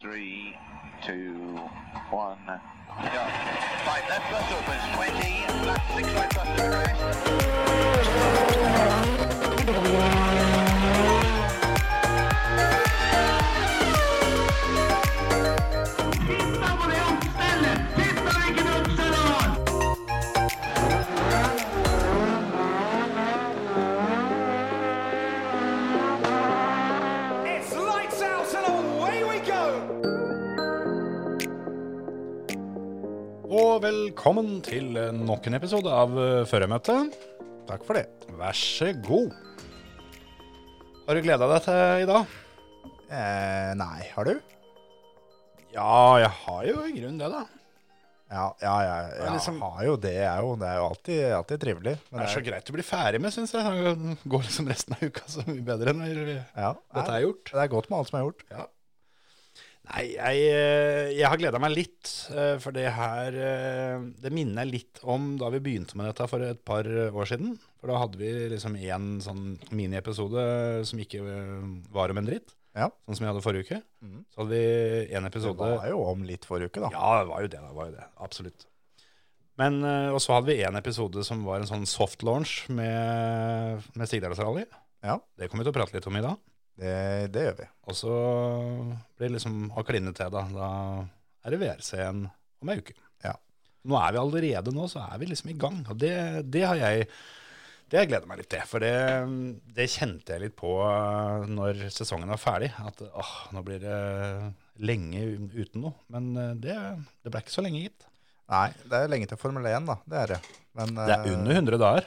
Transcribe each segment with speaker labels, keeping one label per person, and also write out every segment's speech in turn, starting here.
Speaker 1: Three, two, one, go. Five left bus opens, 20, left six right bus to rest.
Speaker 2: It's lights out and away we go!
Speaker 3: Og velkommen til nok en episode av eh, Førermøtet. Takk for det. Vær så god. Har du gleda deg til i dag?
Speaker 4: Eh, nei, har du?
Speaker 3: Ja, jeg har jo i grunnen det, da.
Speaker 4: Ja, ja, ja jeg
Speaker 3: er liksom-
Speaker 4: har jo det, jeg jo. Det er jo alltid, alltid trivelig. Men
Speaker 3: Det er så greit å bli ferdig med, syns jeg. Det går liksom resten av uka så mye bedre enn når
Speaker 4: ja,
Speaker 3: dette
Speaker 4: nei,
Speaker 3: er gjort.
Speaker 4: Det er godt med alt som er gjort.
Speaker 3: Ja. Nei, jeg, eh, jeg har gleda meg litt, eh, for det her eh, Det minner jeg litt om da vi begynte med dette for et par år siden. For da hadde vi liksom én sånn miniepisode som ikke eh, var om en dritt.
Speaker 4: Ja.
Speaker 3: Sånn som vi hadde forrige uke.
Speaker 4: Mhm.
Speaker 3: Så hadde vi én
Speaker 4: Det
Speaker 3: episode
Speaker 4: var jo om litt forrige uke, da.
Speaker 3: Ja, det var jo det. det var jo det, Absolutt. Men, eh, Og så hadde vi én episode som var en sånn soft launch med, med Stigdalsrally.
Speaker 4: Ja.
Speaker 3: Det kommer vi til å prate litt om i dag.
Speaker 4: Det, det gjør vi.
Speaker 3: Og så blir det liksom å klinne til, da. Da er det vrc en om ei uke.
Speaker 4: Ja.
Speaker 3: Nå er vi allerede nå, så er vi liksom i gang. Og det, det har jeg det har jeg gleda meg litt til. For det, det kjente jeg litt på eh, når sesongen var ferdig. At åh, nå blir det lenge uten noe. Men eh, det, det ble ikke så lenge, gitt.
Speaker 4: Nei, det er lenge til Formel 1, da. Det er det. Men,
Speaker 3: Det er
Speaker 4: eh,
Speaker 3: under 100 dager.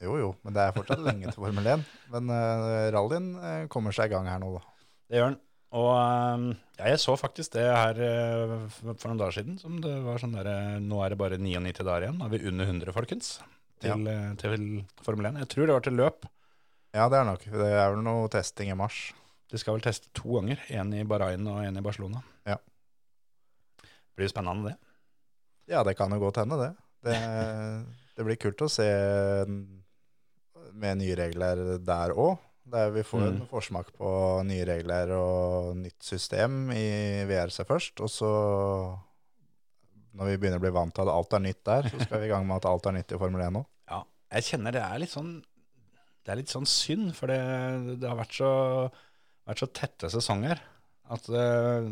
Speaker 4: Jo, jo, men det er fortsatt lenge til Formel 1. Men eh, rallyen eh, kommer seg i gang her nå, da.
Speaker 3: Det gjør den. Og eh, ja, jeg så faktisk det her eh, for for noen dager siden. Som det var sånn der, eh, Nå er det bare 99 dager igjen. Da er vi under 100, folkens. Til, eh, til Formel 1. Jeg tror det var til løp.
Speaker 4: Ja, det er nok. Det er vel noe testing i mars.
Speaker 3: De skal vel teste to ganger. Én i Bahrain og én i Barcelona.
Speaker 4: Ja.
Speaker 3: Blir spennende, det.
Speaker 4: Ja, det kan jo godt hende, det. Det, det blir kult å se n- med nye regler der òg. Vi får jo en
Speaker 3: Mm.
Speaker 4: forsmak på nye regler og nytt system i VRC først. Og så, når vi begynner å bli vant til at alt er nytt der, så skal vi i gang med at alt er nytt i Formel 1 nå.
Speaker 3: Ja. Jeg kjenner det er litt sånn Det er litt sånn synd, for det, det har vært så, vært så tette sesonger at eh,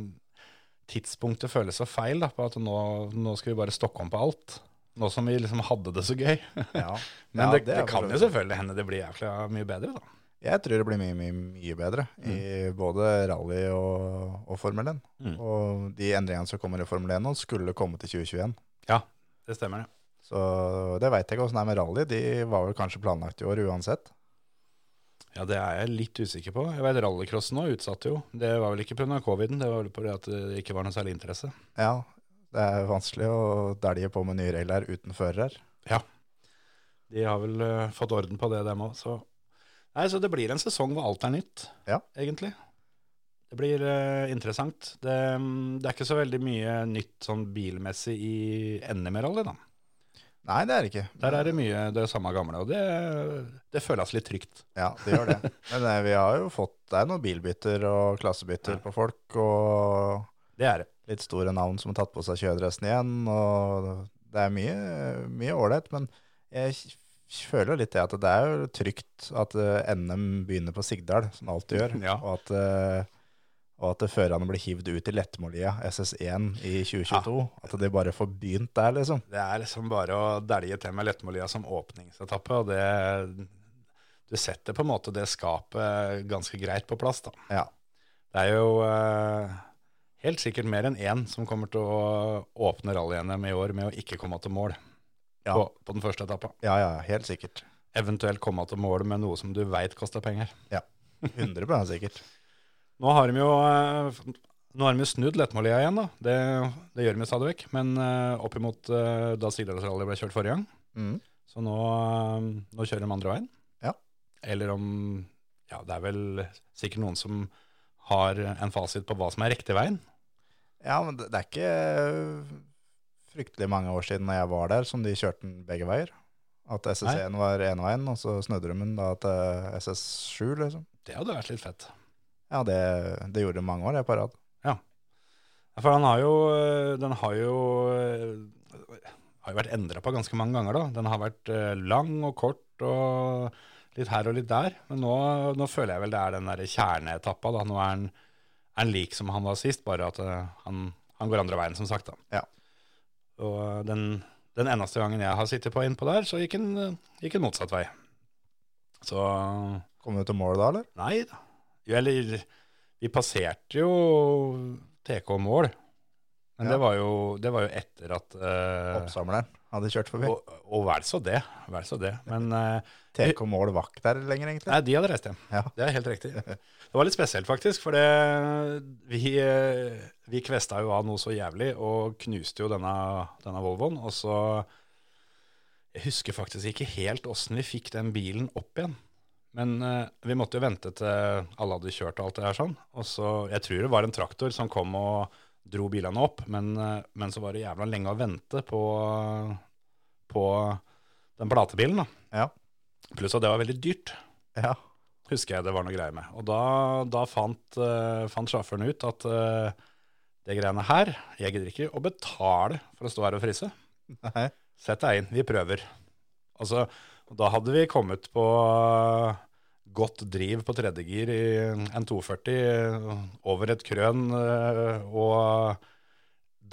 Speaker 3: tidspunktet føles så feil da, på at nå, nå skal vi bare stokke om på alt. Nå som vi liksom hadde det så gøy.
Speaker 4: Ja.
Speaker 3: Men
Speaker 4: Ja,
Speaker 3: det,
Speaker 4: det
Speaker 3: det,
Speaker 4: er
Speaker 3: kan
Speaker 4: for så
Speaker 3: jo
Speaker 4: vidt.
Speaker 3: selvfølgelig hende det blir jævla mye bedre, da.
Speaker 4: Jeg tror det blir mye, mye, mye bedre i både rally og, og Formel 1.
Speaker 3: Mm.
Speaker 4: Og de endringene som kommer i Formel 1 nå, skulle komme til 2021.
Speaker 3: Det stemmer, det.
Speaker 4: Så det veit jeg ikke åssen det er med rally. De var vel kanskje planlagt i år uansett.
Speaker 3: Ja, det er jeg litt usikker på. Jeg vet rallycrossen nå utsatte jo. Det var vel ikke pga. coviden, det var vel fordi at det ikke var noe særlig interesse.
Speaker 4: Ja, det er vanskelig å dælje på med nye regler uten fører.
Speaker 3: De har vel eh, fått orden på det, dem òg. Så. Nei, så det blir en sesong hvor alt er nytt,
Speaker 4: Ja.
Speaker 3: egentlig. Det blir eh, interessant. Det, mm, det er ikke så veldig mye nytt sånn bilmessig i NM-rally, da.
Speaker 4: Nei, det er det ikke.
Speaker 3: Der er det mye det samme gamle, og det, det føles litt trygt.
Speaker 4: Ja, det gjør det. Men eh, vi har jo fått det er noen bilbytter og klassebytter på folk, og
Speaker 3: Det er det.
Speaker 4: litt store navn som har tatt på seg kjøredressen igjen. Og det er mye mye ålreit, men jeg k- føler jo litt det at det er jo trygt at eh, NM begynner på Sigdal, som det alltid gjør,
Speaker 3: Ja.
Speaker 4: og at eh, og at førerne blir hivd ut i Lettmolia, SS1, i 2022. At de bare får begynt der, liksom.
Speaker 3: Det er liksom bare å dælje til med Lettmolia som åpningsetappe, og det Du setter på en måte det skapet ganske greit på plass, da.
Speaker 4: Ja.
Speaker 3: Det er jo eh, helt sikkert mer enn én som kommer til å åpne rally-NM i år med å ikke komme til mål
Speaker 4: Ja.
Speaker 3: på, på den første etappa.
Speaker 4: Ja, ja, helt sikkert.
Speaker 3: Eventuelt komme til mål med noe som du veit koster penger.
Speaker 4: 100 sikkert.
Speaker 3: Nå har de jo, eh, nå har de jo snudd Lettmålia igjen, da. Det, det gjør de jo stadig vekk. Men eh, opp imot eh, da Sigdalsrally ble kjørt forrige gang.
Speaker 4: Mm.
Speaker 3: Så nå, eh, nå kjører de andre veien.
Speaker 4: Ja.
Speaker 3: Eller om Ja, det er vel sikkert noen som har en fasit på hva som er riktig veien.
Speaker 4: Ja, men det det er ikke øh, fryktelig mange år siden når jeg var der, som de kjørte den begge veier. At SS1 var ene veien, og så snudde de den da til SS7, liksom.
Speaker 3: Det hadde vært litt fett.
Speaker 4: Ja, det, det gjorde de mange år, det på rad.
Speaker 3: Ja, For han har jo, øh, den har jo, øh, har jo vært endra på ganske mange ganger. da. Den har vært øh, lang og kort og litt her og litt der. Men nå, nå føler jeg vel det er den der kjerneetappa. da. Nå er han, er han lik som han var sist, bare at øh, han, han går andre veien, som sagt. da.
Speaker 4: Ja.
Speaker 3: Og den, den eneste gangen jeg har sittet på innpå der, så gikk han øh, gikk han motsatt vei. Så
Speaker 4: Kom du til mål da, eller?
Speaker 3: Nei da. Jo, Eller vi passerte jo TK-mål. Men
Speaker 4: Ja.
Speaker 3: det, var jo, det var jo etter at eh,
Speaker 4: Oppsamleren hadde kjørt forbi.
Speaker 3: og, og vel så det. Vel så det. Men eh,
Speaker 4: TK Mål var ikke der lenger, egentlig.
Speaker 3: nei, de hadde reist hjem.
Speaker 4: Ja.
Speaker 3: Det er helt riktig. Det var litt spesielt, faktisk. For det, vi, eh, vi kvesta jo av noe så jævlig og knuste jo denne, denne Volvoen. Og så Jeg husker faktisk ikke helt åssen vi fikk den bilen opp igjen. Men eh, vi måtte jo vente til alle hadde kjørt og alt det her sånn. Og så, Jeg tror det var en traktor som kom og dro bilene opp, men, eh, men så var det jævla lenge å vente på, på den platebilen. da.
Speaker 4: Ja.
Speaker 3: Pluss at det var veldig dyrt
Speaker 4: Ja.
Speaker 3: husker jeg det var noe greier med. Og da, da fant, uh, fant sjåføren ut at eh, det greiene her, jeg gidder ikke å betale for å stå her og fryse.
Speaker 4: Nei.
Speaker 3: Sett deg inn, vi prøver. Altså, og da hadde vi kommet på eh, godt driv på tredjegir i en 240 eh, over et krøn, eh, og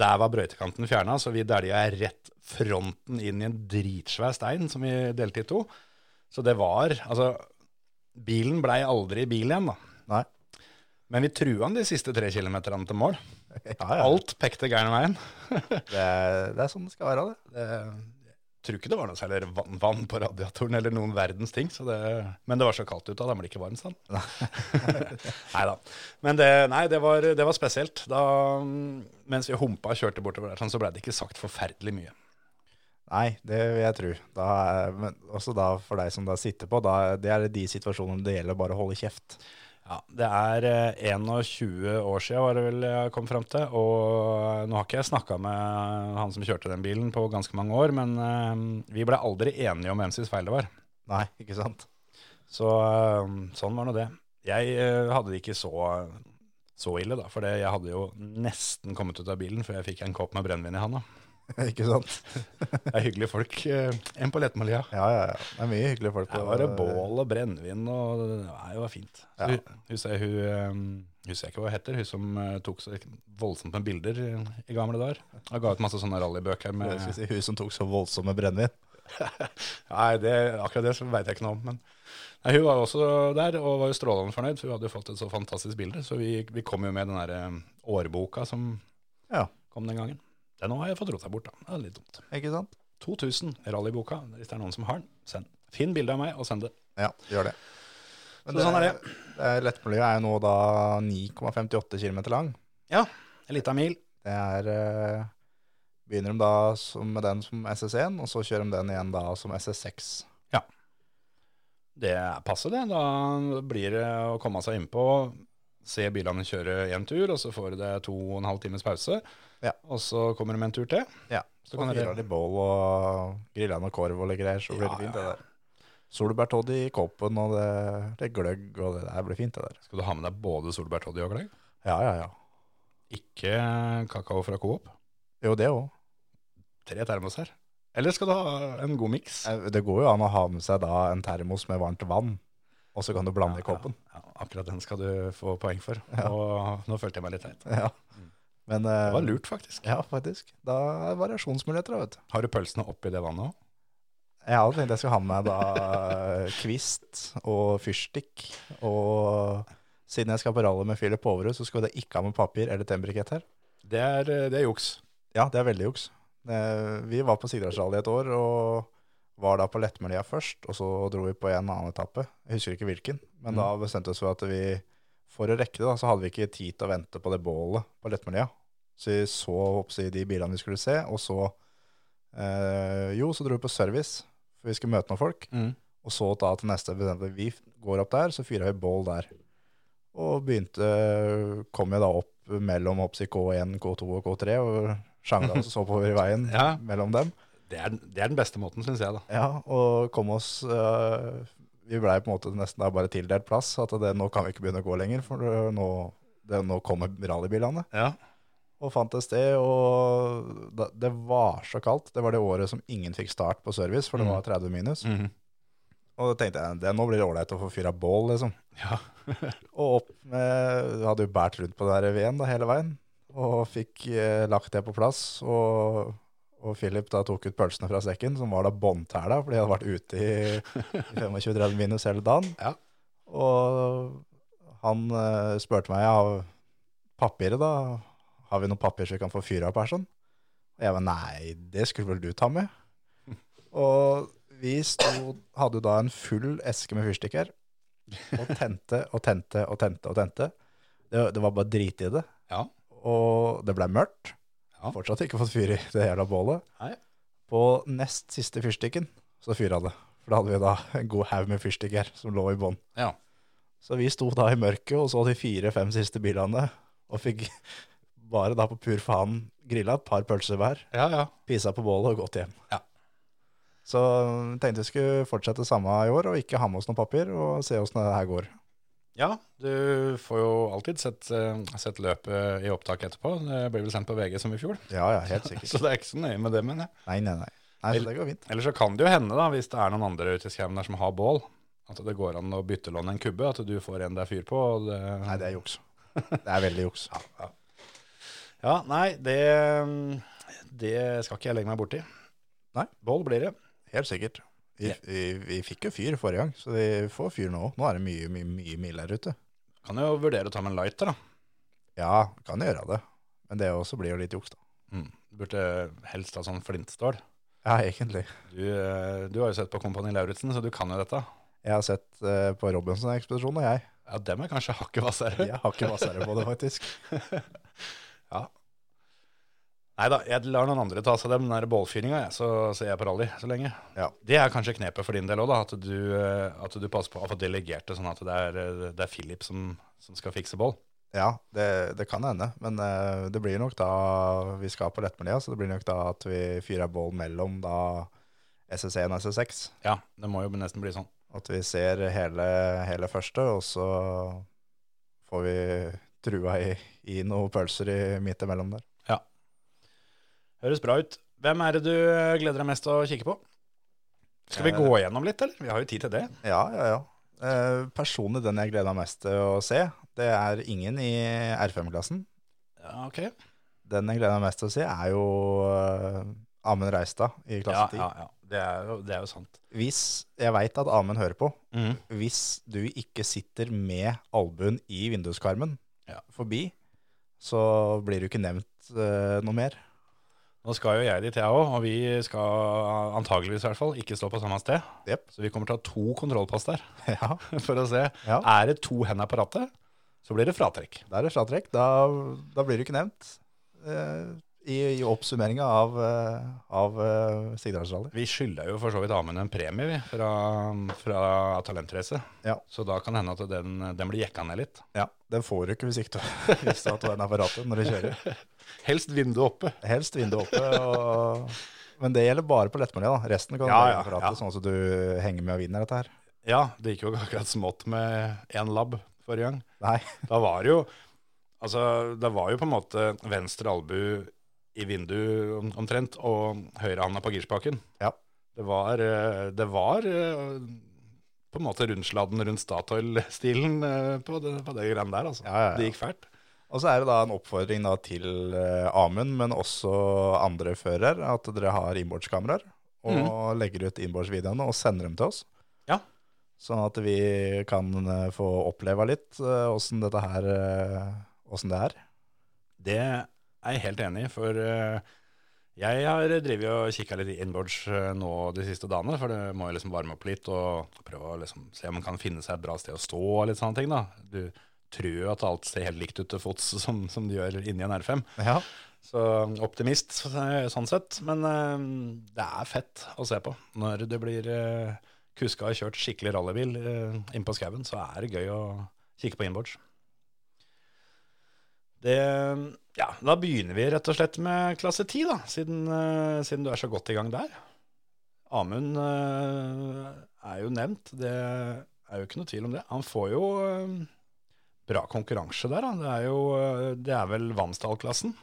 Speaker 3: der var brøytekanten fjerna, så vi dælja rett fronten inn i en dritsvær stein som vi delte i to. Så det var Altså, bilen blei aldri bil igjen, da.
Speaker 4: Nei.
Speaker 3: Men vi trua han de siste tre kilometerne til mål.
Speaker 4: Ja, ja.
Speaker 3: Alt pekte gærne veien.
Speaker 4: Det, er- det er sånn det skal være, det.
Speaker 3: Det, jeg Eh, tror ikke det var noe særlig vann, vann på radiatoren eller noen verdens ting. Så det, men det var så kaldt ute, da ble det ikke varmt. Sånn. nei da. Men det, nei, det, var, det var spesielt. Da, mm, mens vi humpa og kjørte bortover der, sånn, så blei det ikke sagt forferdelig mye.
Speaker 4: Nei, det vil jeg tro. Da er, men også da for deg som da sitter på, da, det er de situasjonene det gjelder å bare holde kjeft.
Speaker 3: Ja, Det er eh, 21 år siden var det vel jeg kom fram til. Og eh, nå har ikke jeg snakka med han som kjørte den bilen på ganske mange år, men eh, vi blei aldri enige om hvem sin feil det var.
Speaker 4: Nei, ikke sant?
Speaker 3: Så øhm, sånn var nå det. Jeg øh, hadde det ikke så, så ille, da. For det- jeg hadde jo nesten kommet ut av bilen før jeg fikk en kopp med brennevin i handa.
Speaker 4: ikke sant?
Speaker 3: Det er hyggelige folk. øh, En på lettmålia.
Speaker 4: Ja, ja, ja. Det er mye hyggelige folk. på-
Speaker 3: Her var det bål og brennevin, og nei, det var fint.
Speaker 4: Ja.
Speaker 3: Så hu- Husker jeg hun øhm, Husker jeg ikke hva hun heter, hun som øh, tok så voldsomt med bilder øh, i gamle dager. Og ga ut masse sånne rallybøker
Speaker 4: Jeg
Speaker 3: med
Speaker 4: skulle si hun som tok så voldsomme brennevin.
Speaker 3: Nei, det, akkurat det så vet jeg ikke noe om. Men nei, hun var jo også der og var jo strålende fornøyd, for hun hadde jo fått et så fantastisk bilde. Så vi, vi kom jo med den der eh, årboka som
Speaker 4: Ja.
Speaker 3: kom den gangen. Den har jeg fått rota bort, da. Det er litt dumt.
Speaker 4: Ikke sant?
Speaker 3: 2000 rallyboka, hvis det er noen som har den, send. Finn bilde av meg og send det.
Speaker 4: Ja, det gjør det. Men
Speaker 3: Så sånn er det.
Speaker 4: det er- Lettmiljøet er jo nå da 9,58 km lang.
Speaker 3: En liten mil.
Speaker 4: Det er eh, Begynner de da som, med den som SS1, og så kjører de den igjen da som SS6.
Speaker 3: Det er passe, det. Da blir det å komme seg innpå, se bilene kjøre én tur, og så får du deg to og en halv times pause.
Speaker 4: Ja.
Speaker 3: Og så kommer de med en tur til.
Speaker 4: Ja.
Speaker 3: Så
Speaker 4: Så
Speaker 3: kan
Speaker 4: kan
Speaker 3: dere
Speaker 4: fyrer de bål og griller noe korv og litt greier, så blir
Speaker 3: Ja,
Speaker 4: det fint, det
Speaker 3: ja, ja.
Speaker 4: der. Solbærtodd i koppen, og det, det er gløgg, og det der blir fint, det der.
Speaker 3: Skal du ha med deg både solbærtoddy og gløgg?
Speaker 4: Ja, ja, ja.
Speaker 3: Ikke kakao fra Coop.
Speaker 4: Jo, det òg.
Speaker 3: Tre termos her. Eller skal du ha en god miks?
Speaker 4: Eh, Det går jo an å ha med seg da en termos med varmt vann, og så kan du blande i koppen.
Speaker 3: Ja, ja, akkurat den skal du få poeng for. Og nå følte jeg meg litt teit.
Speaker 4: Ja. Men
Speaker 3: Mm.
Speaker 4: eh,
Speaker 3: Det var lurt, faktisk.
Speaker 4: Ja, faktisk. Da er det variasjonsmuligheter, vet du.
Speaker 3: Har du pølsene oppi det vannet òg?
Speaker 4: Jeg hadde tenkt jeg skulle ha med da eh, kvist og fyrstikk, og siden jeg skal på rally med Philip Overud, så skulle jeg ikke ha med papir eller tennbrikett her.
Speaker 3: Det, er, eh, det er juks.
Speaker 4: Ja, det er veldig juks. Eh, Vi var på Sigdalsrally et år, og var da på Lettmelia først, og så dro vi på en annen etappe. Jeg husker ikke hvilken, men da bestemte vi oss for at vi, for å rekke det, da, så hadde vi ikke tid til å vente på det bålet på Lettmelia. Så vi så opp i de bilene vi skulle se, og så, eh, jo, så dro vi på service, for vi skulle møte noen folk.
Speaker 3: Mm.
Speaker 4: Og så da til neste bestemte vi går opp der, så fyrer vi bål der. Og begynte, kom jeg da opp mellom oppsi K1, K2 og K3, og sjangla oss oppover i veien
Speaker 3: Ja.
Speaker 4: mellom dem.
Speaker 3: Det, er, det er den beste måten, syns jeg, da.
Speaker 4: Ja, og kom oss øh, Vi blei på en måte nesten da bare tildelt plass. At det, nå kan vi ikke begynne å gå lenger, for øh, nå, det, nå kommer rallybilene. og fant et sted, og da, det var så kaldt. Det var det året som ingen fikk start på service, for det var 30 minus.
Speaker 3: Mhm.
Speaker 4: Og da tenkte jeg, det, nå blir det ålreit å få fyra bål, liksom.
Speaker 3: Ja.
Speaker 4: Og opp med, jeg hadde jo bært rundt på den veden da, hele veien, og fikk eh, lagt det på plass, og, og Philip da tok ut pølsene fra sekken, som var da båndtæla, fordi jeg hadde vært ute i, i 25-30 minus hele dagen.
Speaker 3: Ja.
Speaker 4: Og han eh, spurte meg, ja, papiret da, har vi noen papir så vi kan få fyra opp her sånn? Og jeg var, nei, det skulle vel du ta med? Og vi sto, hadde da en full eske med fyrstikker, og tente og tente og tente og tente. Det, det var bare drit i det.
Speaker 3: Ja.
Speaker 4: Og det ble mørkt.
Speaker 3: Ja.
Speaker 4: Fortsatt ikke fått fyr i det jævla bålet.
Speaker 3: Nei.
Speaker 4: På nest siste fyrstikken så fyra det. For da hadde vi da en god haug med fyrstikker som lå i bånn.
Speaker 3: Ja.
Speaker 4: Så vi sto da i mørket og så de fire-fem siste bilene, og fikk bare da på pur faen grilla et par pølser hver,
Speaker 3: Ja, ja.
Speaker 4: pisa på bålet og gått hjem.
Speaker 3: Ja.
Speaker 4: Så tenkte vi skulle fortsette samme i år, og ikke ha med oss noe papir, og se åssen det her går.
Speaker 3: Ja, du får jo alltid sett, eh, sett løpet i opptak etterpå. Det blir vel sendt på VG som i fjor.
Speaker 4: Ja, ja, helt sikkert.
Speaker 3: Så det er ikke så nøye med det, mener jeg.
Speaker 4: Nei, nei, nei. Nei, så det går fint.
Speaker 3: Eller så kan det jo hende, da, hvis det er noen andre ute i skauen der som har bål, at det går an å byttelåne en kubbe, at du får en det er fyr på. Og det...
Speaker 4: Nei, det er juks. Det er veldig juks.
Speaker 3: ja. ja, nei, det, det skal ikke jeg legge meg borti.
Speaker 4: Nei.
Speaker 3: Bål blir det.
Speaker 4: Helt sikkert. Vi, vi, vi fikk jo fyr forrige gang, så vi får fyr nå. Nå er det mye, mye, mye mildere ute.
Speaker 3: Kan jo vurdere å ta med en lighter, da.
Speaker 4: Ja, kan gjøre det. Men det også blir jo litt juks, da.
Speaker 3: Du Mm, burde helst ha sånn flintstål.
Speaker 4: Ja, egentlig.
Speaker 3: Du, eh, du har jo sett på Kompani Lauritzen, så du kan jo dette.
Speaker 4: Jeg har sett eh, på Robinson-ekspedisjonen, og jeg.
Speaker 3: Ja, dem er kanskje hakket hvassere.
Speaker 4: Jeg har ikke massere på det, faktisk.
Speaker 3: Nei da, jeg lar noen andre ta seg den der bålfyringa, jeg, så, så jeg er på rally så lenge.
Speaker 4: Ja.
Speaker 3: Det er kanskje knepet for din del òg, da. At du, eh, at du passer på å få delegert det sånn at det er, eh, det er Philip som, som skal fikse bål.
Speaker 4: Ja, det, det kan hende. Men eh, det blir nok da vi skal på lettmelia, så det blir nok da at vi fyrer bål mellom da SS1 og SS6.
Speaker 3: Ja, det må jo nesten bli sånn.
Speaker 4: At vi ser hele, hele første, og så får vi trua i, i noen pølser i midt imellom der.
Speaker 3: Høres bra ut. Hvem er det du eh, gleder deg mest til å kikke på? Skal vi
Speaker 4: Eh.
Speaker 3: gå gjennom litt, eller? Vi har jo tid til det.
Speaker 4: Ja, ja, ja. Eh, personlig den jeg gleder meg mest til å se, det er ingen i R5-klassen.
Speaker 3: Ja, ok.
Speaker 4: Den jeg gleder meg mest til å se, er jo eh, Amund Reistad i
Speaker 3: Ja,
Speaker 4: klasse 10.
Speaker 3: ja, ja. Det er jo, det er jo sant.
Speaker 4: Hvis, jeg veit at Amund hører på. Hvis du ikke sitter med albuen i vinduskarmen
Speaker 3: Ja.
Speaker 4: forbi, så blir du ikke nevnt eh, noe mer.
Speaker 3: Nå skal jo jeg dit, jeg òg, og vi skal antageligvis i hvert fall ikke stå på samme sted.
Speaker 4: Jep.
Speaker 3: Så vi kommer til å ha to kontrollpass der
Speaker 4: ja,
Speaker 3: for å se.
Speaker 4: ja.
Speaker 3: Er det to hender på rattet, så blir det fratrekk.
Speaker 4: Da er det fratrekk. Da, da blir du ikke nevnt eh, i, i oppsummeringa av, uh, av eh, Sigdalsrally.
Speaker 3: Vi skylder jo for så vidt Amund en premie vi, fra, fra Talentrace.
Speaker 4: Ja.
Speaker 3: Så da kan det hende at den, den blir jekka ned litt.
Speaker 4: Ja, den får du ikke hvis ikke du hvis du har toeren på rattet når du kjører.
Speaker 3: Helst vinduet oppe.
Speaker 4: Helst vinduet oppe. Og... Men det gjelder bare på lettmålet, da. Resten kan du
Speaker 3: Ja,
Speaker 4: legge
Speaker 3: ja,
Speaker 4: på rattet,
Speaker 3: ja.
Speaker 4: sånn at du henger med og vinner dette her.
Speaker 3: Ja, det gikk jo akkurat smått med én labb forrige gang.
Speaker 4: Nei,
Speaker 3: Da var det jo Altså, det var jo på en måte venstre albu i vinduet om- omtrent, og høyrehanda på girspaken.
Speaker 4: Ja.
Speaker 3: Det var, eh, det var eh, på en måte rundsladen rundt Statoil-stilen eh, på det, på det greiene der, altså.
Speaker 4: Ja, ja, ja.
Speaker 3: Det gikk fælt.
Speaker 4: Og så er det da en oppfordring da til eh, Amund, men også andre fører, at dere har innbordskameraer og legger ut innbordsvideoene og sender dem til oss.
Speaker 3: Mhm. Ja.
Speaker 4: Sånn at vi kan eh, få oppleve litt åssen dette her eh, Åssen det er.
Speaker 3: Det er jeg helt enig i, for eh, jeg har drevet og kikka litt i inboards eh, nå de siste dagene, for det må jo liksom varme opp litt og prøve å liksom se om man kan finne seg et bra sted å stå og litt sånne ting, da. Du tror jo at alt ser helt likt ut til fots som, som det gjør inni en R5.
Speaker 4: Ja.
Speaker 3: Så um, optimist eh, sånn sett, men eh, det er fett å se på. Når det blir eh, kuska og kjørt skikkelig rallybil eh, inn på skauen, så er det gøy å kikke på inboards. Det, um, ja, da begynner vi rett og slett med klasse 10, da, siden, eh, siden du er så godt i gang der. Amund eh, er jo nevnt, det er jo ikke noe tvil om det. Han får jo um, eh, bra konkurranse der. Da. Det, er jo, eh, det er vel Vansdal-klassen.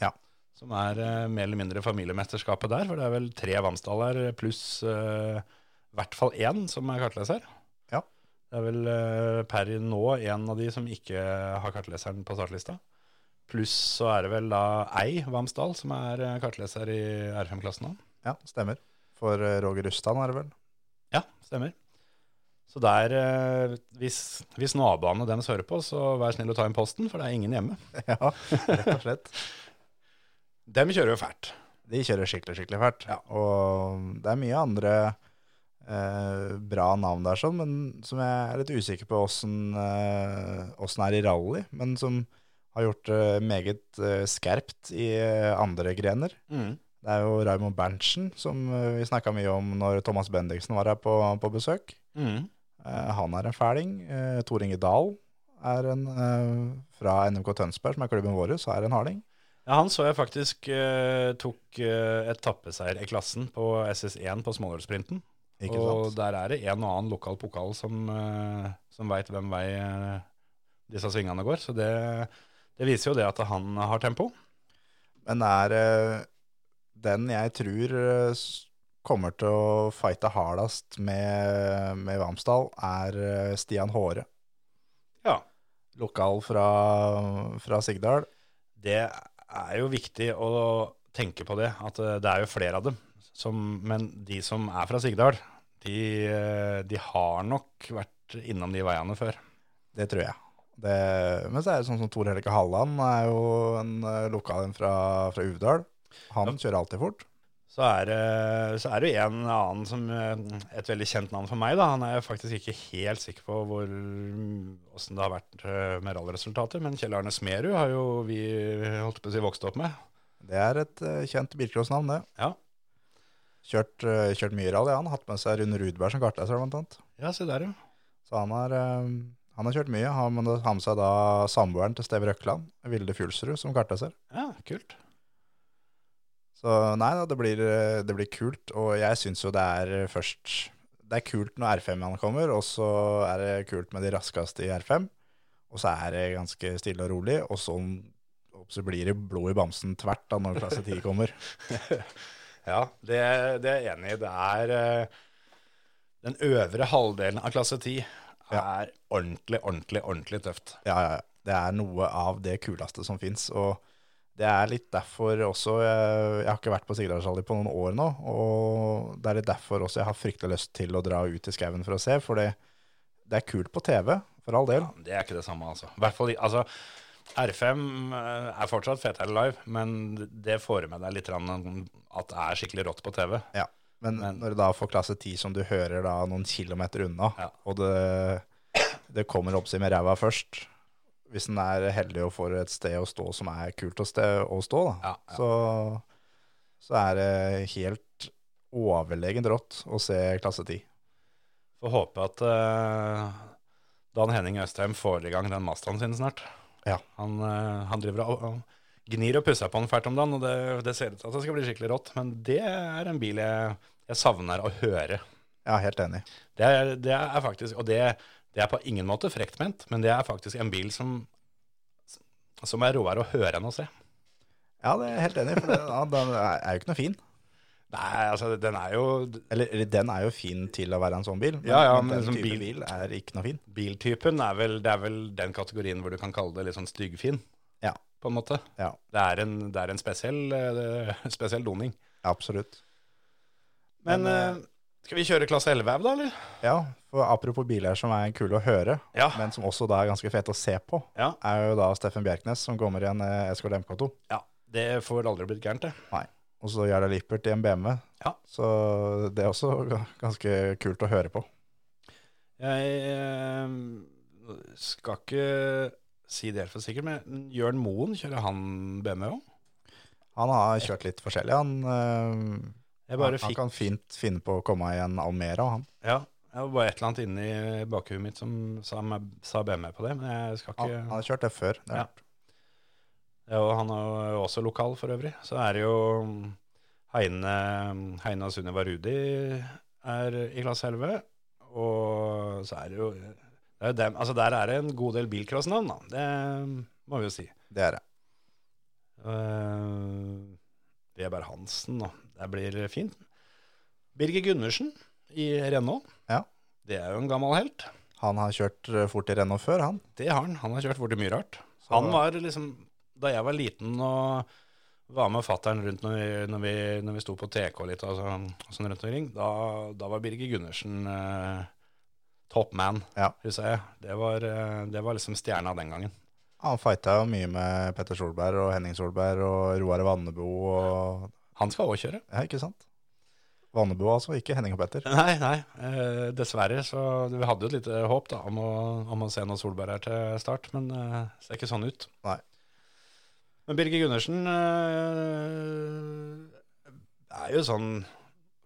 Speaker 4: Ja.
Speaker 3: Som er eh, mer eller mindre familiemesterskapet der, for det er vel tre Vamsdaler pluss eh, i hvert fall én som er kartleser.
Speaker 4: Ja.
Speaker 3: Det er vel eh, per nå en av de som ikke har kartleseren på startlista. Pluss så er det vel da ei Vamsdal som er eh, kartleser i R5-klassen nå.
Speaker 4: Ja, stemmer. For eh, Roger Rustan er det vel?
Speaker 3: Ja, stemmer. Så der, eh, hvis, hvis naboene deres hører på, så vær snill å ta inn posten, for det er ingen hjemme.
Speaker 4: Ja, rett og slett.
Speaker 3: Dem kjører jo fælt.
Speaker 4: De kjører skikkelig, skikkelig fælt. Og det er mye andre eh, bra navn der, sånn, men som jeg er litt usikker på åssen eh, åssen er i rally. Men som har gjort det meget eh, skerpt i eh, andre grener.
Speaker 3: Mm.
Speaker 4: Det er jo Raymond Berntsen som eh, vi snakka mye om når Thomas Bendiksen var her på, på besøk.
Speaker 3: Mm.
Speaker 4: Eh, han er en fæling. Eh, Tor Inge Dahl er en eh, fra NMK Tønsberg, som er klubben vår, så er en harding.
Speaker 3: Ja, han så jeg faktisk eh, tok eh, etappeseier i klassen på SS1 på småhjulssprinten.
Speaker 4: Ikke
Speaker 3: Og
Speaker 4: sant?
Speaker 3: der er det en og annen lokal pokal som, eh, som veit hvem vei eh, disse svingene går. Så det, det viser jo det at han har tempo.
Speaker 4: Men det er eh, den jeg tror eh, s- kommer til å fighte hardest med, med Vamsdal, er eh, Stian Håre.
Speaker 3: Ja.
Speaker 4: Lokal fra, fra Sigdal.
Speaker 3: Det er jo viktig å tenke på det, at eh, det er jo flere av dem. Som, men de som er fra Sigdal, de, eh, de har nok vært innom de veiene før.
Speaker 4: Det tror jeg. Det, men så er det sånn som Tor Helge Halland er jo en eh, lokal en fra, fra Uvdal. Han kjører alltid fort.
Speaker 3: Så er, det- så er det jo en annen som eh, Et veldig kjent navn for meg, da. Han er jeg faktisk ikke helt sikker på hvor, hvordan det har vært eh, med rallresultater, men Kjell Arne Smerud har jo vi holdt på å si vokst opp med.
Speaker 4: Det er et eh, kjent bilcrossnavn, det.
Speaker 3: Ja.
Speaker 4: Kjørt, eh, kjørt mye rally, han. Hatt med seg Rune Rudberg som kartleser, blant annet.
Speaker 3: Ja, se der, ja.
Speaker 4: Så han har, eh, han har kjørt mye. Han men da har med seg da samboeren til Steve Røkland, Vilde Fjulsrud, som kartleser.
Speaker 3: Ja, Kult.
Speaker 4: Så nei da, det blir, eh, det blir kult. Og jeg syns jo det er eh, først Det er kult når R5-ene kommer, og så er det kult med de raskeste i R5. Og så er det ganske stille og rolig, og så, og så blir det blod i bamsen tvert da når klasse 10 kommer.
Speaker 3: Ja, det, det er jeg enig i. Det er eh, Den øvre halvdelen av klasse 10
Speaker 4: Ja.
Speaker 3: er ordentlig, ordentlig, ordentlig tøft.
Speaker 4: Ja, ja, ja. Det er noe av det kuleste som fins. Og det er litt derfor også Jeg, jeg har ikke vært på Sigdalsrally på noen år nå, og det er litt derfor også jeg har fryktelig lyst til å dra ut i skauen for å se, for det, det er kult på TV, for all del.
Speaker 3: Ja, men det er ikke det samme, altså. I hvert fall, i- altså R5 er fortsatt fetere live, men det får med deg litt grann at det er skikkelig rått på TV.
Speaker 4: Ja. Men,
Speaker 3: Men-
Speaker 4: når du da får klasse 10 som du hører da noen kilometer unna,
Speaker 3: Ja.
Speaker 4: og det, det kommer oppsida med ræva først Hvis en er heldig og får et sted å stå som er kult å, ste, å stå, da,
Speaker 3: Ja, ja.
Speaker 4: Så, så er det helt overlegent rått å se klasse 10.
Speaker 3: Får håpe at eh, Dan Henning Østheim får i gang den Mazdaen sin snart.
Speaker 4: Ja.
Speaker 3: Han, eh, han driver og, og gnir og pusser på den fælt om dagen, og det, det ser ut til at det skal bli skikkelig rått. Men det er en bil jeg, jeg savner å høre.
Speaker 4: Ja, helt enig.
Speaker 3: Det er, det er faktisk, og det, det er på ingen måte frekt ment, men det er faktisk en bil som, som er råere å høre enn å se.
Speaker 4: Ja, det er helt enig, for den, ja, den er er jo ikke noe fin.
Speaker 3: Nei, altså den er jo
Speaker 4: Eller, eller den er jo fin til å være en sånn bil, men,
Speaker 3: Ja, ja,
Speaker 4: men
Speaker 3: men
Speaker 4: den
Speaker 3: som
Speaker 4: type
Speaker 3: bil-
Speaker 4: bil... er ikke noe fin.
Speaker 3: Biltypen er vel, det er vel den kategorien hvor du kan kalle det litt sånn styggfin,
Speaker 4: Ja,
Speaker 3: på en måte.
Speaker 4: ja.
Speaker 3: Det er en, det er en spesiell, eh, spesiell doning.
Speaker 4: Absolutt.
Speaker 3: Men,
Speaker 4: Men,
Speaker 3: eh, skal vi kjøre klasse 11 av da, eller?
Speaker 4: Ja, for apropos biler som er kule å høre,
Speaker 3: Ja.
Speaker 4: men som også da er ganske fete å se på,
Speaker 3: Ja.
Speaker 4: er jo da Steffen Bjerknes som kommer i en eh, Escort MK2.
Speaker 3: ja. Det får aldri blitt gærent, det.
Speaker 4: Nei. Og så Jarle Lippert i en BMW.
Speaker 3: Ja.
Speaker 4: Så det er også g- ganske kult å høre på.
Speaker 3: Jeg eh, skal ikke si det helt for sikkert, men Jørn Moen, kjører han BMW òg?
Speaker 4: Han har kjørt litt forskjellig. Han, eh,
Speaker 3: Jeg bare
Speaker 4: han, han
Speaker 3: fikk
Speaker 4: kan fint finne på å komme i en Almera, han.
Speaker 3: Ja. Det var bare et eller annet inni bakhuet mitt som sa, sa BMW på det, men jeg skal
Speaker 4: Han,
Speaker 3: ikke
Speaker 4: han har kjørt det før. Det
Speaker 3: Ja. Ja, og han er jo også lokal for øvrig. Så er det jo mm, Heine, mm, Heine og Sunniva Rudi er i klasse 11. Og så er det jo det er jo mm, dem, altså Der er det en god del bilcrossnavn, da. Det må vi jo si.
Speaker 4: det er det.
Speaker 3: Eh, Weber Hansen, og det blir fint. Birger Gundersen i Renault.
Speaker 4: Ja.
Speaker 3: Det er jo en gammel helt.
Speaker 4: Han har kjørt eh, fort i Renault før, han.
Speaker 3: Det har han. Han har kjørt fort i mye rart. Han var liksom, Da jeg var liten og var med fattern rundt når vi, når vi, når vi sto på TK litt, altså, og sånn rundt omkring, da, da var Birger Gundersen eh, top man,
Speaker 4: Ja.
Speaker 3: husker jeg. Det var, eh, det var liksom stjerna den gangen.
Speaker 4: Han fighta jo mye med Petter Solberg og Henning Solberg og Roar Vannebo og
Speaker 3: Han skal òg kjøre.
Speaker 4: Ja, ikke sant? Vannebo altså, ikke Henning og Petter.
Speaker 3: Nei, nei. Eh, dessverre. Så vi hadde jo et lite håp da, om å, om å se noe Solberg her til start, men eh, ser ikke sånn ut.
Speaker 4: Nei.
Speaker 3: Men Birger Gundersen eh, er jo sånn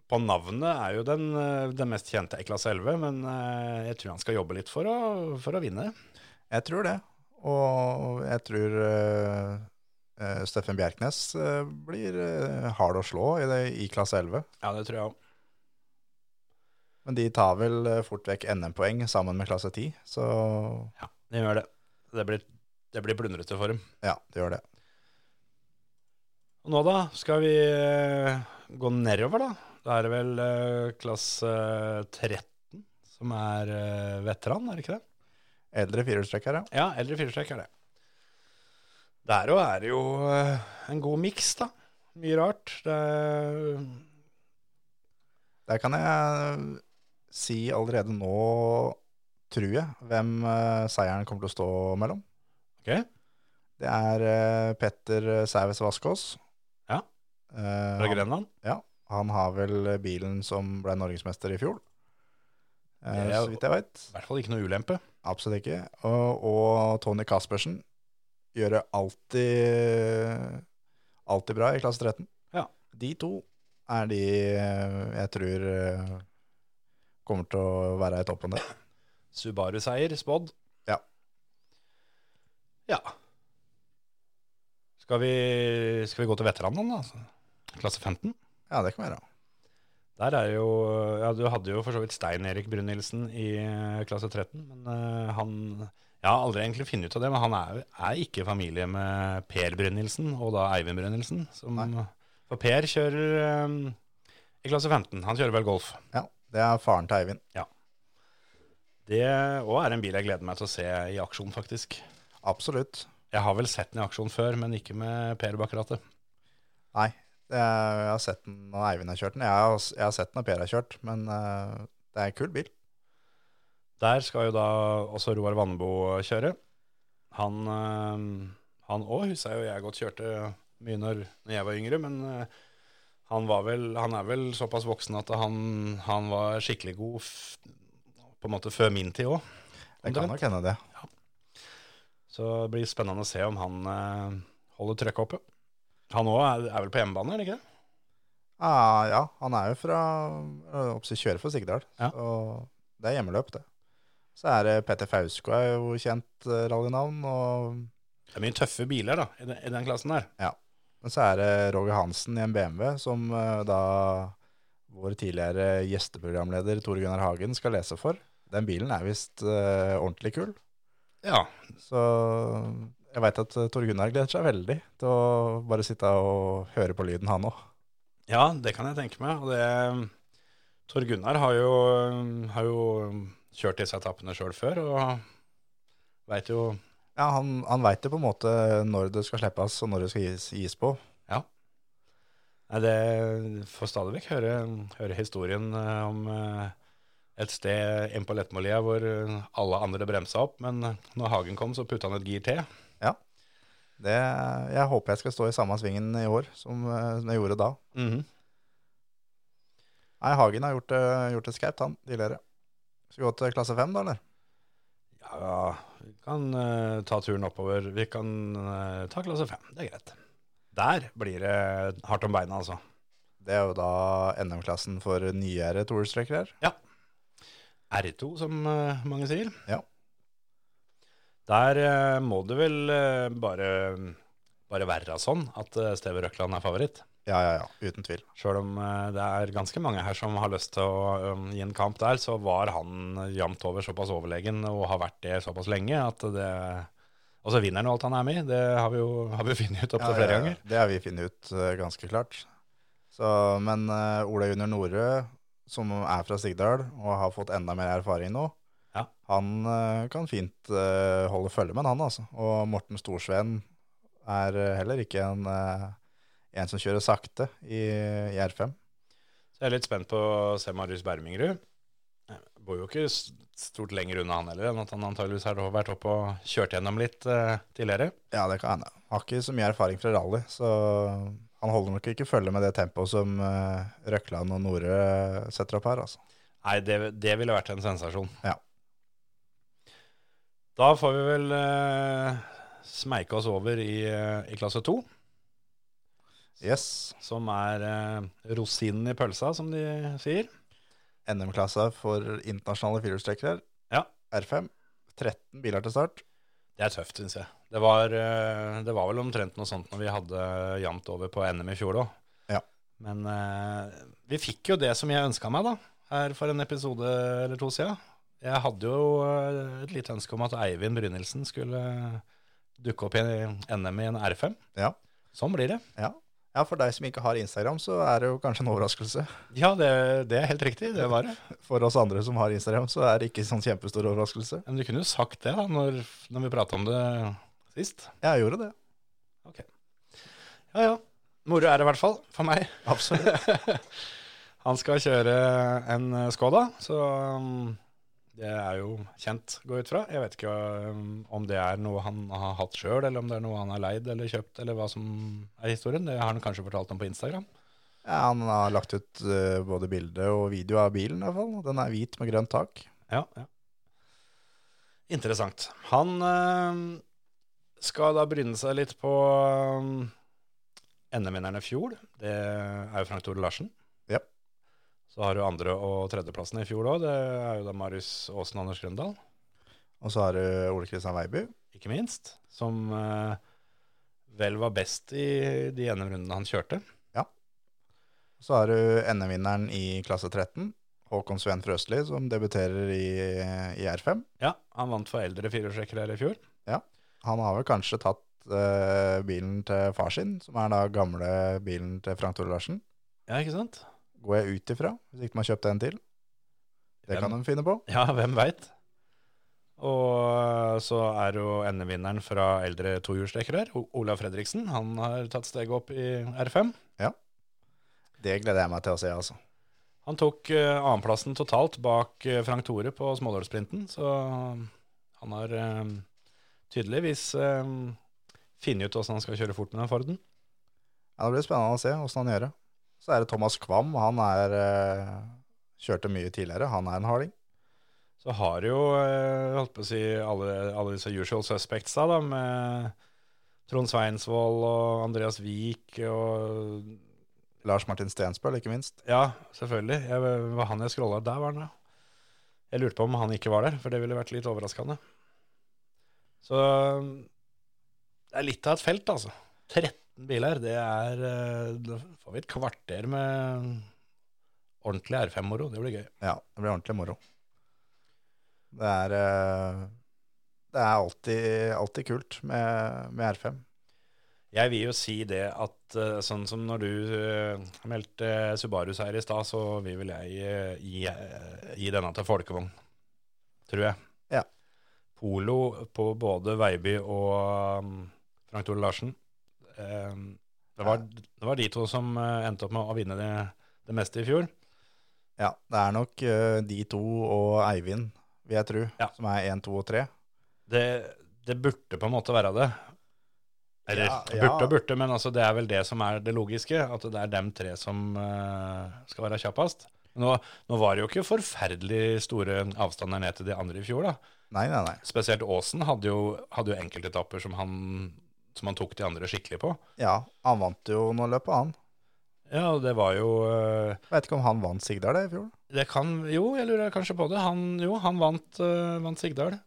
Speaker 3: På navnet er jo den, eh, den mest kjente i klasse 11, men eh, jeg tror han skal jobbe litt for å, for å vinne.
Speaker 4: Jeg tror det. Og jeg tror eh, eh, Steffen Bjerknes eh, blir eh, hard å slå i, det, i klasse 11.
Speaker 3: Ja, det tror jeg òg.
Speaker 4: Men de tar vel eh, fort vekk NM-poeng sammen med klasse 10, så
Speaker 3: Ja, det gjør det. Det blir, det blir plundrete for dem.
Speaker 4: ja, det gjør det.
Speaker 3: Og nå da skal vi eh, gå nedover da. Da er det vel eh, klasse 13 som er eh, veteran, er det ikke det?
Speaker 4: Eldre firehjulstrekker, ja.
Speaker 3: Ja, eldre firestrekk er det. Der òg er det jo eh, en god miks, da. Mye rart. Det er,
Speaker 4: Der kan jeg eh, si allerede nå, tror jeg, hvem eh, seieren kommer til å stå mellom.
Speaker 3: Ok.
Speaker 4: Det er eh, Petter Sæves Vaskås.
Speaker 3: Ja.
Speaker 4: Eh,
Speaker 3: fra
Speaker 4: han,
Speaker 3: Grenland.
Speaker 4: han har vel eh, bilen som ble norgesmester i fjor, eh,
Speaker 3: Det er jo-
Speaker 4: så vidt jeg vet.
Speaker 3: I hvert fall ikke noe ulempe.
Speaker 4: Absolutt ikke. Og, og Tony Caspersen gjør det alltid, alltid bra i klasse 13.
Speaker 3: Ja.
Speaker 4: De to er de eh, jeg tror eh, kommer til å være i toppen der.
Speaker 3: Subaru-seier spådd.
Speaker 4: Ja.
Speaker 3: Ja. Skal vi, skal vi gå til veteranene, da? altså? Klasse 15?
Speaker 4: Ja, det kan være.
Speaker 3: Der er jo Ja, du hadde jo for så vidt Stein Erik Brynildsen i eh, klasse 13, men eh, han Jeg har aldri egentlig funnet ut av det, men han er, er ikke i familie med Per Brynildsen og da Eivind Brynildsen. Som,
Speaker 4: Nei.
Speaker 3: for Per kjører eh, i klasse 15. Han kjører vel golf.
Speaker 4: Ja, det er faren til Eivind.
Speaker 3: Det òg er en bil jeg gleder meg til å se i aksjon, faktisk.
Speaker 4: Absolutt.
Speaker 3: Jeg har vel sett den i aksjon før, men ikke med Per bak rattet.
Speaker 4: Nei, det er, jeg har sett den når Eivind har kjørt den. Jeg har, jeg har sett den når Per har kjørt, men eh, det er en kul bil.
Speaker 3: Der skal jo da også Roar Vannebo kjøre. Han, eh, han òg husker jeg jo jeg godt kjørte mye når, når jeg var yngre, men eh, han, var vel, han er vel såpass voksen at han, han var skikkelig god f på en måte før min tid òg.
Speaker 4: Det kan nok hende det.
Speaker 3: Så det blir spennende å se om han eh, holder trøkket oppe. Han òg er, er vel på hjemmebane, er det ikke det?
Speaker 4: Ah, ja, han er jo fra øh, oppsi kjører for Sigdal,
Speaker 3: Ja.
Speaker 4: og det er hjemmeløp, det. Så er det Petter Fausko er jo kjent øh, rallynavn, og,
Speaker 3: Det er mye tøffe biler da, i den, i den klassen der.
Speaker 4: men så er det Roger Hansen i en BMW, som øh, da vår tidligere gjesteprogramleder Tore Gunnar Hagen skal lese for. Den bilen er visst øh, ordentlig kul,
Speaker 3: Ja,
Speaker 4: så jeg veit at øh, Tore Gunnar gleder seg veldig til å bare sitte og høre på lyden, han òg.
Speaker 3: Ja, det kan jeg tenke meg. Og det eh, Tor Gunnar har jo, eh, har jo kjørt disse etappene sjøl før, og veit jo
Speaker 4: Ja, han, han veit jo på en måte når det skal slippes, og når det skal gis, gis på.
Speaker 3: Nei, det får stadig vekk høre, høre historien eh, om eh, et sted inn på Lettmolia hvor eh, alle andre bremsa opp, men eh, når Hagen kom, så putta han et gir til.
Speaker 4: Det, jeg håper jeg skal stå i samme svingen i år som, eh, som jeg gjorde da. Nei, Hagen har gjort, det- gjort det skarpt, han, tidligere. Skal vi gå til klasse 5, da, eller?
Speaker 3: Ja, vi kan eh, ta turen oppover. Vi kan eh, ta klasse fem, det er greit. Der blir det hardt om beina, altså.
Speaker 4: Det er jo da NM-klassen for nyere toerstreker her.
Speaker 3: R2, som eh, mange sier.
Speaker 4: Ja.
Speaker 3: Der eh, må det vel eh, bare, bare være sånn at eh, Steve Røkland er favoritt.
Speaker 4: Ja, ja, ja, uten tvil.
Speaker 3: Sjøl om eh, det er ganske mange her som har lyst til å eh, gi en kamp der, så var han jevnt over såpass overlegen og har vært det såpass lenge at det Og så vinner han jo alt han er med i. Det har vi jo har vi funnet ut opptil
Speaker 4: Ja,
Speaker 3: flere
Speaker 4: ja,
Speaker 3: ganger.
Speaker 4: Det har vi funnet ut eh, ganske klart. Så, men eh, Ola Junior Norø, som er fra Sigdal og har fått enda mer erfaring nå,
Speaker 3: Ja.
Speaker 4: han eh, kan fint eh, holde følge med han, altså. Og Morten Storsveen er eh, heller ikke en, eh, en som kjører sakte i, i R5.
Speaker 3: Så jeg er litt spent på å se Marius Bermingrud. Jeg Bor jo ikke s- stort lenger unna han heller, enn at han antageligvis har vært oppe og kjørt gjennom litt eh, tidligere.
Speaker 4: Ja, det kan hende. Har ikke så mye erfaring fra rally, så han holder nok ikke følge med det tempoet som eh, Røkland og Norø setter opp her, altså.
Speaker 3: Nei, det, det ville vært en sensasjon.
Speaker 4: Ja.
Speaker 3: Da får vi vel eh, smeike oss over i, eh, i klasse to,
Speaker 4: Yes.
Speaker 3: som er eh, rosinen i pølsa, som de sier.
Speaker 4: NM-klassa for internasjonale firehjulstrekkere.
Speaker 3: Ja.
Speaker 4: R5. 13 biler til start.
Speaker 3: Det er tøft, syns jeg. Det var, eh, det var vel omtrent noe sånt når vi hadde jevnt over på NM i fjor òg.
Speaker 4: Ja.
Speaker 3: Men eh, vi fikk jo det som jeg ønska meg, da, her for en episode eller to siden. Jeg hadde jo eh, et lite ønske om at Eivind Brynildsen skulle dukke opp i NM i en R5.
Speaker 4: Ja.
Speaker 3: Sånn blir det.
Speaker 4: Ja. ja, for deg som ikke har Instagram, så er det jo kanskje en overraskelse.
Speaker 3: Ja, det, det er helt riktig. Det var det.
Speaker 4: For oss andre som har Instagram, så er det ikke sånn kjempestor overraskelse.
Speaker 3: Men du kunne jo sagt det da, når, når vi prata om det sist.
Speaker 4: Jeg gjorde det.
Speaker 3: Ja, ja. Moro er det i hvert fall, for meg.
Speaker 4: Absolutt.
Speaker 3: Han skal kjøre en eh, Skoda, så um, det er jo kjent, går jeg ut fra. Jeg vet ikke um, om det er noe han har hatt sjøl, eller om det er noe han har leid eller kjøpt, eller hva som er historien. Det har han kanskje fortalt om på Instagram.
Speaker 4: Ja, han har lagt ut eh, både bilde og video av bilen, i hvert fall. Den er hvit med grønt tak.
Speaker 3: Ja, ja. Interessant. Han eh, skal da bryne seg litt på eh, NM-vinneren i fjor. Det er jo Frank Tore Larsen.
Speaker 4: Ja.
Speaker 3: Så har du andre- og tredjeplassen i fjor òg. Det er jo da Marius Aasen og Anders Grøndal,
Speaker 4: Og så har du Ole Kristian Weiby.
Speaker 3: ikke minst. Som eh, vel var best i de NM-rundene han kjørte.
Speaker 4: Så har du NM-vinneren i klasse 13, Håkon Sveen Frøsli, som debuterer i, i R5.
Speaker 3: Ja, han vant for eldre firehjulstrekkere her i fjor.
Speaker 4: Han har vel kanskje tatt eh, bilen til far sin, som er da gamle bilen til Frank Tore Larsen.
Speaker 3: Ja, ikke sant?
Speaker 4: Går jeg ut ifra, hvis ikke man har kjøpt en til. Det kan de finne på.
Speaker 3: Ja, hvem veit? Og så er jo NM-vinneren fra eldre tohjulstrekker her, O- Olav Fredriksen. Han har tatt steget opp i R5.
Speaker 4: Det gleder jeg meg til å se, altså.
Speaker 3: Han tok eh, annenplassen totalt bak eh, Frank Tore på smådålsprinten, så han har eh, tydeligvis eh, funnet ut åssen han skal kjøre fort med den Forden.
Speaker 4: Ja, det blir spennende å se åssen han gjør det. Så er det Thomas Kvam. Han er eh, Kjørte mye tidligere. Han er en harding.
Speaker 3: Så har jo, eh, holdt på å si, alle, alle disse usual suspects da, da, med Trond Sveinsvold og Andreas Wiik og
Speaker 4: Lars Martin Stensbøl, ikke minst.
Speaker 3: Ja, selvfølgelig. Jeg, var han jeg scrolla der, var han ja. Jeg lurte på om han ikke var der, for det ville vært litt overraskende. Så det er litt av et felt, altså. 13 biler, det er eh, Da får vi et kvarter med ordentlig R5-moro. Det blir gøy.
Speaker 4: Ja, det blir ordentlig moro. Det er eh, Det er alltid, alltid kult med, med R5.
Speaker 3: Jeg vil jo si det at eh, sånn som når du eh, meldte Subarus her i stad, så vil vel jeg eh, gi, eh, gi denne til folkevogn. Tror jeg.
Speaker 4: Ja.
Speaker 3: Polo på både Veiby og um, Frank Tore Larsen. Eh, Det var, det var de to som eh, endte opp med å vinne det, det meste i fjor.
Speaker 4: Ja, det er nok eh, de to og Eivind, vil jeg tro,
Speaker 3: Ja.
Speaker 4: som er 1, 2 og 3.
Speaker 3: Det, det burde på en måte være det. Eller
Speaker 4: Ja, ja.
Speaker 3: burde og burde, men altså, det er vel det som er det logiske. At det er dem tre som eh, skal være kjappest. Nå, nå var det jo ikke forferdelig store avstander ned til de andre i fjor. da.
Speaker 4: Nei, nei, nei.
Speaker 3: Spesielt Aasen hadde jo, hadde jo enkeltetapper som han, som han tok de andre skikkelig på.
Speaker 4: Ja, han vant jo nå løpet, han.
Speaker 3: Ja, og det var jo eh,
Speaker 4: Vet ikke om han vant Sigdal det i fjor.
Speaker 3: Det kan, jo, jeg lurer kanskje på det. Han, jo, han vant, eh, vant Sigdal.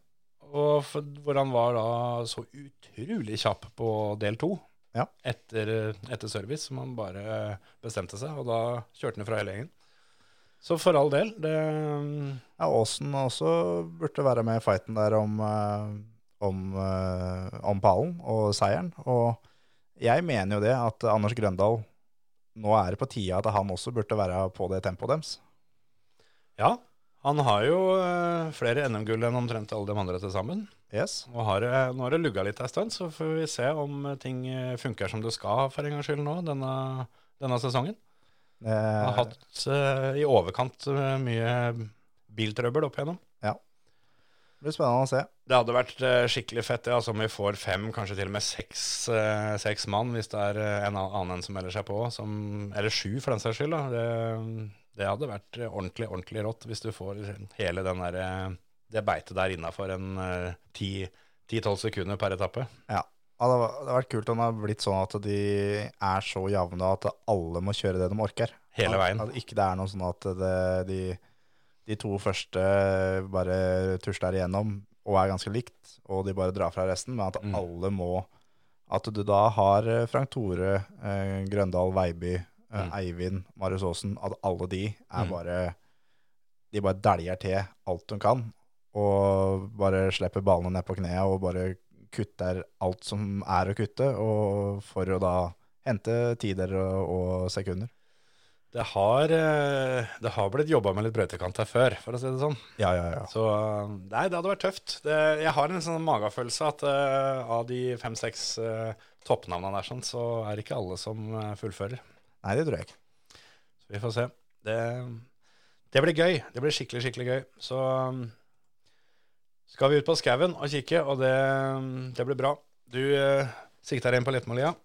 Speaker 3: Og for, hvor han var da så utrolig kjapp på del to.
Speaker 4: Ja.
Speaker 3: Etter, eh, etter service, som han bare eh, bestemte seg. Og da kjørte han fra hele gjengen. Så for all del, det mm,
Speaker 4: Ja, Aasen også burde være med i fighten der om, eh, om, eh, om pallen og seieren. Og jeg mener jo det at Anders Grøndal Nå er det på tide at han også burde være på det tempoet deres.
Speaker 3: Ja, han har jo eh, flere NM-gull enn omtrent alle de andre til sammen.
Speaker 4: Yes.
Speaker 3: Nå har, det- nå har det lugga litt ei stund, så får vi se om eh, ting eh, funker som det skal for en gangs skyld nå denne, denne sesongen. Han har
Speaker 4: Eh,
Speaker 3: hatt eh, i overkant eh, mye biltrøbbel opp igjennom.
Speaker 4: det blir spennende å se.
Speaker 3: Det hadde vært eh, skikkelig fett det, altså om vi får fem, kanskje til og med seks, eh, seks mann, hvis det er eh, en an- annen som melder seg på, som, eller sju for den saks skyld. Da. Det, det hadde vært eh, ordentlig, ordentlig rått hvis du får hele den der, eh, det beitet der innafor en eh, ti, 10-12 sekunder per etappe.
Speaker 4: Ja, det har- det har vært kult om det har blitt sånn at de er så javne at alle må kjøre det de orker.
Speaker 3: Hele
Speaker 4: At-
Speaker 3: veien.
Speaker 4: At ikke det er noe sånn at det, de, de to første bare tusler igjennom og er ganske likt, og de bare drar fra resten, men at
Speaker 3: Mm.
Speaker 4: alle må At du da har eh, Frank Tore, eh, Grøndal, Veiby, eh,
Speaker 3: Mm.
Speaker 4: Eivind, Marius Aasen At alle de er
Speaker 3: Mm.
Speaker 4: bare De bare dæljer til alt de kan, og bare slipper ballene ned på knea og bare kutter alt som er å kutte, og for å da hente tider og, og sekunder.
Speaker 3: Det har, eh, det har blitt jobba med litt brøytekant her før, for å si det sånn.
Speaker 4: Ja, ja, ja.
Speaker 3: Så nei, det hadde vært tøft. Det, jeg har en sånn magefølelse at eh, av de fem-seks eh, toppnavnene der, sånn, så er det ikke alle som eh, fullfører.
Speaker 4: Nei, det tror jeg ikke.
Speaker 3: Så vi får se. Det, det blir gøy. Det blir skikkelig, skikkelig gøy. Så um, skal vi ut på skauen og kikke, og det, det blir bra. Du eh, sikter inn på Lettmålia.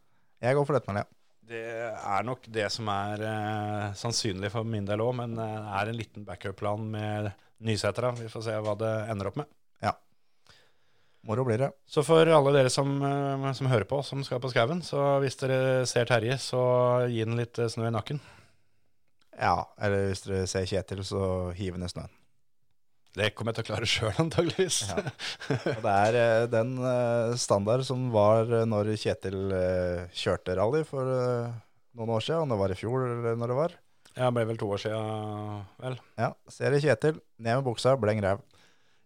Speaker 4: Jeg går for lettmelja.
Speaker 3: Det er nok det som er eh, sannsynlig for min del òg, men eh, det er en liten backup-plan med Nysæter. da. Vi får se hva det ender opp med.
Speaker 4: Moro blir det.
Speaker 3: Så for alle dere som, eh, som hører på, som skal på skauen, så hvis dere ser Terje, så gi den litt eh, snø i nakken.
Speaker 4: Ja, eller hvis dere ser Kjetil, så hiv ned snøen.
Speaker 3: Det kommer jeg til å klare sjøl, antageligvis.
Speaker 4: Ja. Og det er eh, den eh, standard som var eh, når Kjetil eh, kjørte rally for eh, noen år siden, om det var i fjor eller når det var.
Speaker 3: Jeg ble vel to år sia, vel.
Speaker 4: Ja, ser jeg Kjetil, ned med buksa, bleng ræv.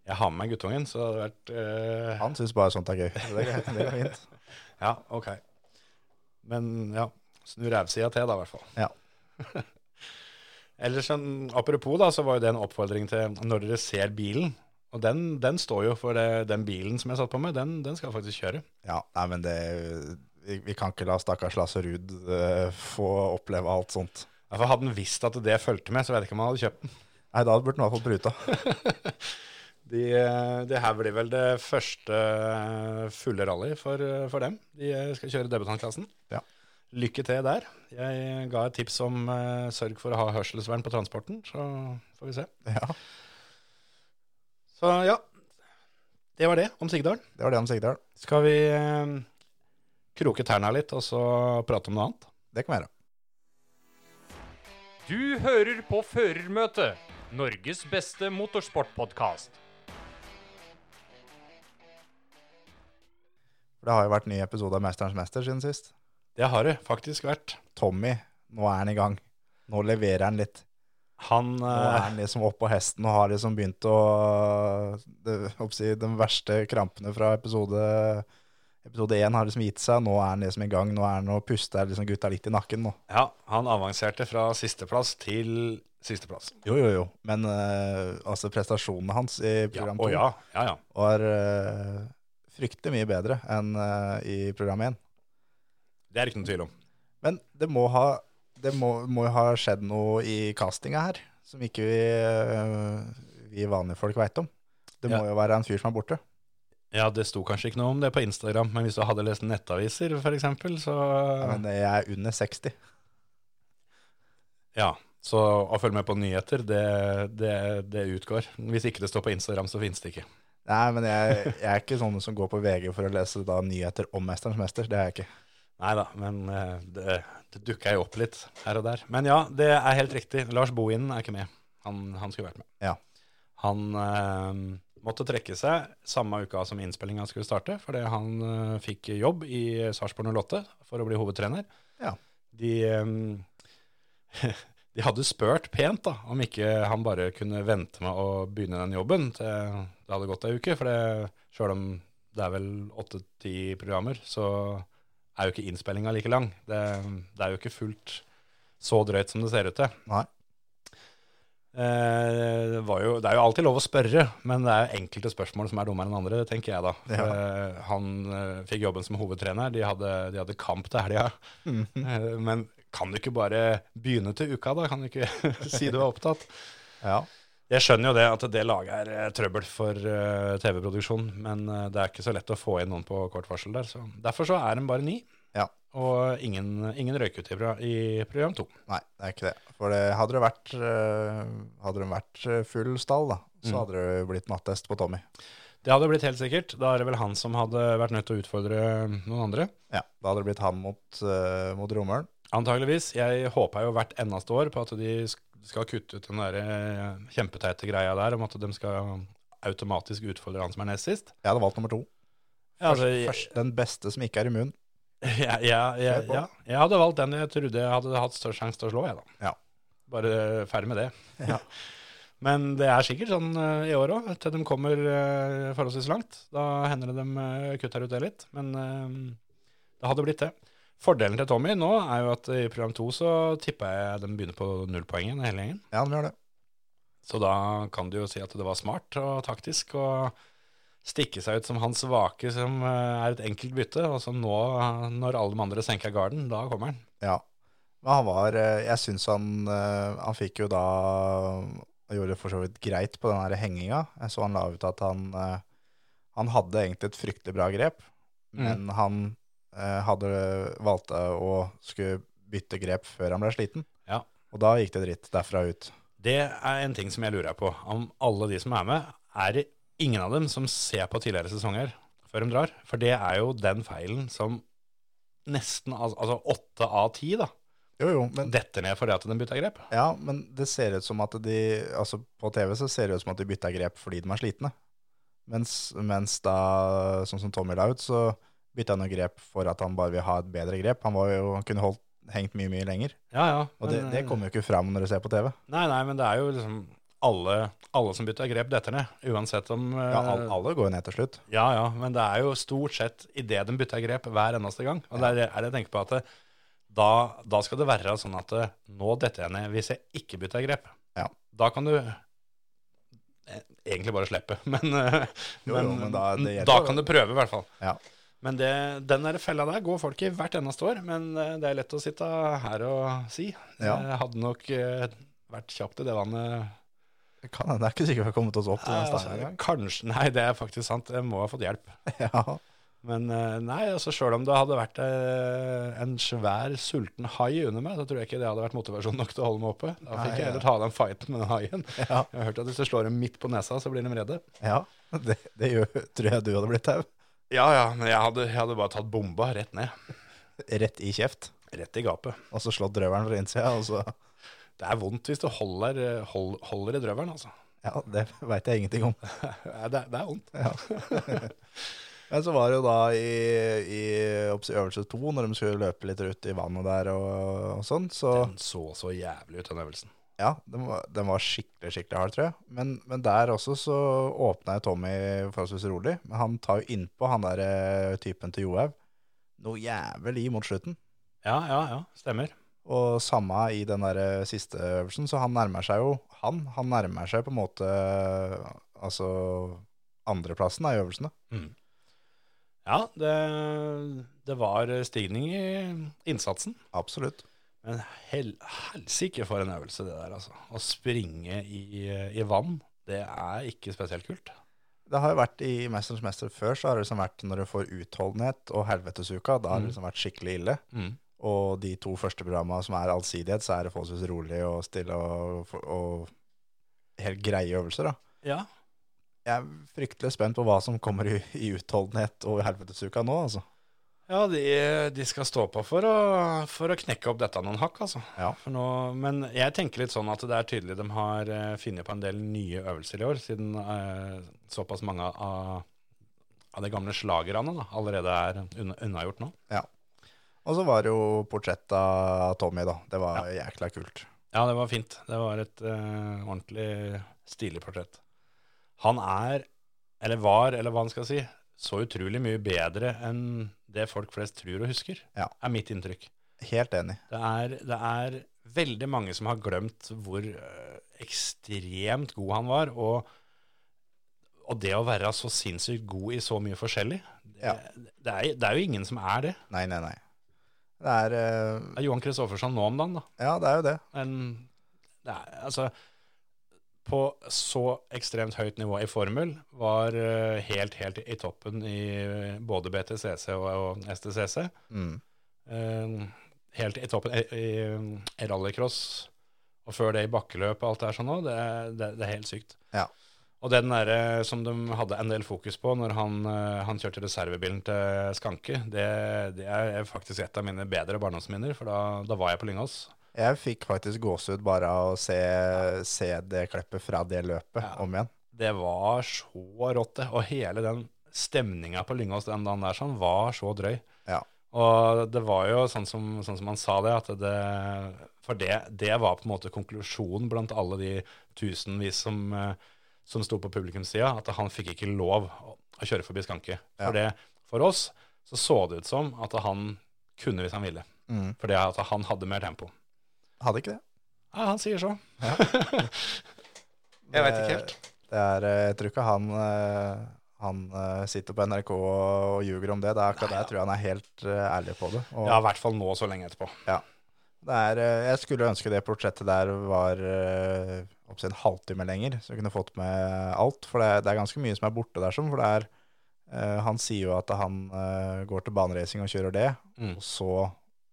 Speaker 3: Jeg har med meg guttungen, så det hadde vært eh,
Speaker 4: Han synes bare sånt er gøy. Det er, det er fint.
Speaker 3: Ja, ok. Men ja, snu rævsida til, da, i hvert fall.
Speaker 4: Ja.
Speaker 3: Ellers, en, apropos, da, så var jo det en oppfordring til når dere ser bilen. Og den, den står jo for det, den bilen som jeg satt på med, den, den skal faktisk kjøre.
Speaker 4: Ja, nei, men det Vi, vi kan ikke la stakkars Lasse Ruud eh, få oppleve alt sånt.
Speaker 3: Ja, for Hadde han visst at det fulgte med, så vet jeg ikke om han hadde kjøpt den.
Speaker 4: Nei, da burde han i hvert fall bruta.
Speaker 3: De, det her blir vel det første fulle rally for, for dem. De skal kjøre debutantklassen.
Speaker 4: Ja.
Speaker 3: Lykke til der. Jeg ga et tips om eh, sørg for å ha hørselsvern på transporten, så får vi se.
Speaker 4: Ja,
Speaker 3: Så ja, det var det om Sigdal.
Speaker 4: Det var det om Sigdal.
Speaker 3: Skal vi eh, kroke tærne litt og så prate om noe annet?
Speaker 4: Det kan vi gjøre.
Speaker 5: Du hører på Førermøtet, Norges beste motorsportpodkast.
Speaker 4: For det har jo vært ny episode av Mesterens mester siden sist.
Speaker 3: Det har det faktisk vært.
Speaker 4: Tommy, nå er han i gang. Nå leverer han litt.
Speaker 3: Han eh,
Speaker 4: Nå er han liksom oppå hesten og har liksom begynt å det, oppsi, De verste krampene fra episode Episode én har liksom gitt seg. Nå er han liksom i gang. Nå er han og puster liksom gutta litt i nakken nå.
Speaker 3: Ja, han avanserte fra sisteplass til sisteplass.
Speaker 4: Jo, jo, jo. Men eh, altså prestasjonene hans i
Speaker 3: Ja,
Speaker 4: program
Speaker 3: å
Speaker 4: to
Speaker 3: ja, ja, ja.
Speaker 4: var eh, fryktelig mye bedre enn eh, i program 1.
Speaker 3: Det er ikke noen tvil om.
Speaker 4: Men det må ha, det må, må jo ha skjedd noe i castinga her, som ikke vi, eh, vi vanlige folk veit om. Det må
Speaker 3: Ja.
Speaker 4: jo være en fyr som er borte.
Speaker 3: Ja, det sto kanskje ikke noe om det på Instagram, men hvis du hadde lest nettaviser, for eksempel, så
Speaker 4: Ja, Men jeg er under 60.
Speaker 3: Ja. Så å følge med på nyheter, det, det, det utgår. Hvis ikke det står på Instagram, så finnes det ikke.
Speaker 4: Nei, men jeg, jeg er ikke sånn som går på VG for å lese da nyheter om 'Mesterens mester'. Det er jeg ikke.
Speaker 3: Nei da, men eh, det, det dukka jo opp litt her og der. Men ja, det er helt riktig. Lars Bohinen er ikke med. Han, han skulle vært med.
Speaker 4: Ja.
Speaker 3: Han eh, måtte trekke seg samme uka som innspillinga skulle starte, fordi han eh, fikk jobb i Sarpsborg 08 for å bli hovedtrener.
Speaker 4: Ja.
Speaker 3: De, eh, de hadde spurt pent da, om ikke han bare kunne vente med å begynne den jobben til det hadde gått ei uke, for det sjøl om Det er vel åtte-ti programmer, så er jo ikke innspillinga like lang. Det, det er jo ikke fullt så drøyt som det ser ut til.
Speaker 4: Nei.
Speaker 3: Eh, det, var jo, det er jo alltid lov å spørre, men det er enkelte spørsmål som er dummere enn andre, tenker jeg da. Eh, han eh, fikk jobben som hovedtrener, de hadde, de hadde kamp til helga. Eh, men kan du ikke bare begynne til uka, da? Kan du ikke si du er opptatt?
Speaker 4: Ja.
Speaker 3: Jeg skjønner jo det at det laget er eh, trøbbel for eh, TV-produksjon, men eh, det er ikke så lett å få inn noen på kort varsel der. Så. Derfor så er den bare ni,
Speaker 4: ja.
Speaker 3: og ingen, ingen røyk ut i, pro- i program to.
Speaker 4: Nei, det er ikke det. For det, hadde det vært, eh, hadde det vært eh, full stall, da, så hadde det blitt nattest på Tommy.
Speaker 3: Det hadde blitt helt sikkert. Da er det vel han som hadde vært nødt til å utfordre noen andre.
Speaker 4: Ja, Da hadde det blitt han mot, uh, mot Romølen.
Speaker 3: Antageligvis. Jeg håper jo hvert eneste år på at de sk- skal kutte ut den der eh, kjempeteite greia der om at de skal automatisk utfordre han som er nest sist.
Speaker 4: Jeg hadde valgt nummer to.
Speaker 3: Ja, altså,
Speaker 4: Først, den beste som ikke er immun.
Speaker 3: Ja, ja, ja,
Speaker 4: Kjør på.
Speaker 3: ja. Jeg hadde valgt den jeg trodde jeg hadde hatt størst sjanse til å slå, jeg da.
Speaker 4: Ja.
Speaker 3: Bare ferdig med det.
Speaker 4: Ja.
Speaker 3: Men det er sikkert sånn eh, i år òg, til de kommer eh, forholdsvis langt. Da hender det de eh, kutter ut det litt, men eh, det hadde blitt det. Fordelen til Tommy nå er jo at i program to så tipper jeg de begynner på nullpoengen hele gjengen.
Speaker 4: Ja, den gjør det.
Speaker 3: Så da kan du jo si at det var smart og taktisk å stikke seg ut som han svake som eh, er et enkelt bytte, og som nå, eh, når alle de andre senker garden, da kommer han.
Speaker 4: Ja. Men han var eh, Jeg syns han eh, Han fikk jo da Han gjorde det for så vidt greit på den her henginga. Jeg så han la ut at han eh, Han hadde egentlig et fryktelig bra grep, men han eh, hadde valgt å skulle bytte grep før han ble sliten.
Speaker 3: Ja.
Speaker 4: Og da gikk det dritt derfra ut.
Speaker 3: Det er en ting som jeg lurer på. Om alle de som er med, er det ingen av dem som ser på tidligere sesonger før de drar? For det er jo den feilen som nesten, al- altså åtte av ti, da,
Speaker 4: Jo, jo, men
Speaker 3: detter ned fordi at de bytter grep.
Speaker 4: Ja, men det ser ut som at de Altså på TV så ser det ut som at de bytta grep fordi de er slitne. Mens, mens da, sånn som Tommy la ut, så bytta han jo grep for at han bare vil ha et bedre grep. Han, var jo, han kunne holdt, hengt mye, mye lenger.
Speaker 3: Ja, ja.
Speaker 4: Og det,
Speaker 3: men,
Speaker 4: det
Speaker 3: eh,
Speaker 4: kommer jo ikke fram når du ser på TV.
Speaker 3: Nei, nei, men det er jo liksom alle, alle som bytter grep, detter ned. Uansett om eh,
Speaker 4: Ja, al- alle går jo ned til slutt.
Speaker 3: Ja, ja, men det er jo stort sett idet de bytter grep hver eneste gang. Og det er det er det jeg tenker på at det, da, da skal det være sånn at det, nå detter jeg ned hvis jeg ikke bytter grep.
Speaker 4: Ja.
Speaker 3: Da kan du eh, egentlig bare slippe, men, eh,
Speaker 4: Jo, jo, men da- det gjelder
Speaker 3: da
Speaker 4: jo.
Speaker 3: kan du prøve i hvert fall.
Speaker 4: Ja.
Speaker 3: Men det, den der fella der går folk i hvert eneste år, men eh, det er lett å sitte her og si.
Speaker 4: Ja.
Speaker 3: Jeg hadde nok eh, vært kjapt i det vannet.
Speaker 4: Det, kan, hende- det er ikke sikkert vi har kommet oss opp til den
Speaker 3: Altså,
Speaker 4: steinen engang.
Speaker 3: kanskje, nei, det er faktisk sant. Jeg må ha fått hjelp.
Speaker 4: Ja.
Speaker 3: Men eh, nei, altså sjøl om det hadde vært eh, en svær, sulten hai under meg, så tror jeg ikke det hadde vært motivasjon nok til å holde meg oppe. Da fikk
Speaker 4: Nei,
Speaker 3: jeg
Speaker 4: ja.
Speaker 3: heller ta den fighten med den haien.
Speaker 4: Ja.
Speaker 3: Jeg har hørt at hvis du slår dem midt på nesa, så blir de redde.
Speaker 4: ja. Det, det gjør, tror jeg du hadde blitt tau.
Speaker 3: Ja ja, men jeg hadde, jeg hadde bare tatt bomba rett ned.
Speaker 4: Rett i kjeft,
Speaker 3: Rett i gapet.
Speaker 4: og så slått drøvelen fra innsida, og så
Speaker 3: Det er vondt hvis du holder, eh, hold, holder i drøvelen, altså.
Speaker 4: Ja, det veit jeg ingenting om.
Speaker 3: Ja, Det, er- det er vondt.
Speaker 4: Men så var det jo da i, i opps- øvelse to, når de skulle løpe litt ut i vannet der og, og sånn, så
Speaker 3: Den så så jævlig ut, den øvelsen.
Speaker 4: ja, den var, den var skikkelig, skikkelig hard, tror jeg. Men, men der også så åpna jo Tommy forholdsvis rolig. Men han tar jo innpå han der eh, typen til Johaug noe jævlig mot slutten.
Speaker 3: Ja, ja, ja. Stemmer.
Speaker 4: Og samme i den der eh, siste øvelsen, så han nærmer seg jo han. Han nærmer seg på en måte eh, altså andreplassen da, i øvelsene.
Speaker 3: Ja, det, det var stigning i innsatsen.
Speaker 4: Absolutt.
Speaker 3: Men hel, helsike for en øvelse det der, altså. Å springe i, i vann, det er ikke spesielt kult.
Speaker 4: Det har jo vært i Mesterens mester før, så har det liksom vært når du får utholdenhet og helvetesuka, da har det liksom vært skikkelig ille.
Speaker 3: Mm.
Speaker 4: Og de to første programma som er allsidighet, så er det forholdsvis rolig og stille og, og helt greie øvelser, da.
Speaker 3: Ja.
Speaker 4: Jeg er fryktelig spent på hva som kommer i, i utholdenhet og helvetesuka nå, altså.
Speaker 3: Ja, de, de skal stå på for å, for å knekke opp dette noen hakk, altså.
Speaker 4: Ja.
Speaker 3: For nå, men jeg tenker litt sånn at det er tydelig de har eh, funnet på en del nye øvelser i år, siden eh, såpass mange av, av de gamle slagerne da, allerede er unna, unnagjort nå.
Speaker 4: Og så var det jo portrett av Tommy, da. Det var jækla kult.
Speaker 3: Ja, det var fint. Det var et eh, ordentlig stilig portrett. Han er, eller var, eller hva han skal si, så utrolig mye bedre enn det folk flest tror og husker,
Speaker 4: Ja.
Speaker 3: er mitt inntrykk.
Speaker 4: Helt enig.
Speaker 3: Det er, det er veldig mange som har glemt hvor eh, ekstremt god han var, og, og det å være så sinnssykt god i så mje forskjellig, det,
Speaker 4: Ja.
Speaker 3: det, er, det er jo ingen som er det.
Speaker 4: Nei, nei, nei. Det er eh,
Speaker 3: Det er Johan Kristoffersson nå om dagen, da.
Speaker 4: Ja, det er jo det.
Speaker 3: Men det er, altså På så ekstremt høyt nivå i formel var eh, helt, helt i toppen i både BTCC og, og STCC.
Speaker 4: Mm.
Speaker 3: Eh, helt i toppen eh, i, i, i rallycross, og før det i bakkeløp og alt det her sånn òg, det, er- det, det er helt sykt.
Speaker 4: Ja.
Speaker 3: Og den derre som de hadde en del fokus på når han, eh, han kjørte reservebilen til Skanke, det, det er faktisk et av mine bedre barndomsminner, for da, da var jeg på Lyngås.
Speaker 4: Jeg fikk faktisk gåsehud bare av å se, se det kleppet fra det løpet
Speaker 3: Ja.
Speaker 4: om igjen.
Speaker 3: Det var så rått, det. Og hele den stemninga på Lyngås den dagen der sånn, var så drøy.
Speaker 4: Ja.
Speaker 3: Og det var jo sånn som, sånn som han sa det, at det For det, det var på en måte konklusjonen blant alle de tusenvis som, eh, som sto på publikumssida, at han fikk ikke lov å, å kjøre forbi Skanke.
Speaker 4: Ja.
Speaker 3: For, det, for oss så så det ut som at han kunne hvis han ville.
Speaker 4: Mm.
Speaker 3: For det at han hadde mer tempo.
Speaker 4: Hadde ikke det.
Speaker 3: Ja, han sier så.
Speaker 4: Jeg
Speaker 3: vet ikke helt.
Speaker 4: Det er, eh, jeg tror ikke han, eh, han eh, sitter på NRK og ljuger om det. Det er akkurat det. Jeg tror han er helt eh, ærlig på det. Og
Speaker 3: Ja, i hvert fall nå så lenge etterpå.
Speaker 4: det er, eh, jeg skulle ønske det portrettet der var eh, oppsett en halvtime lenger, så jeg kunne fått med alt. For det, er- det er ganske mye som er borte der. sånn, For det er, eh, han sier jo at han eh, går til baneracing og kjører det.
Speaker 3: Mm.
Speaker 4: Og så,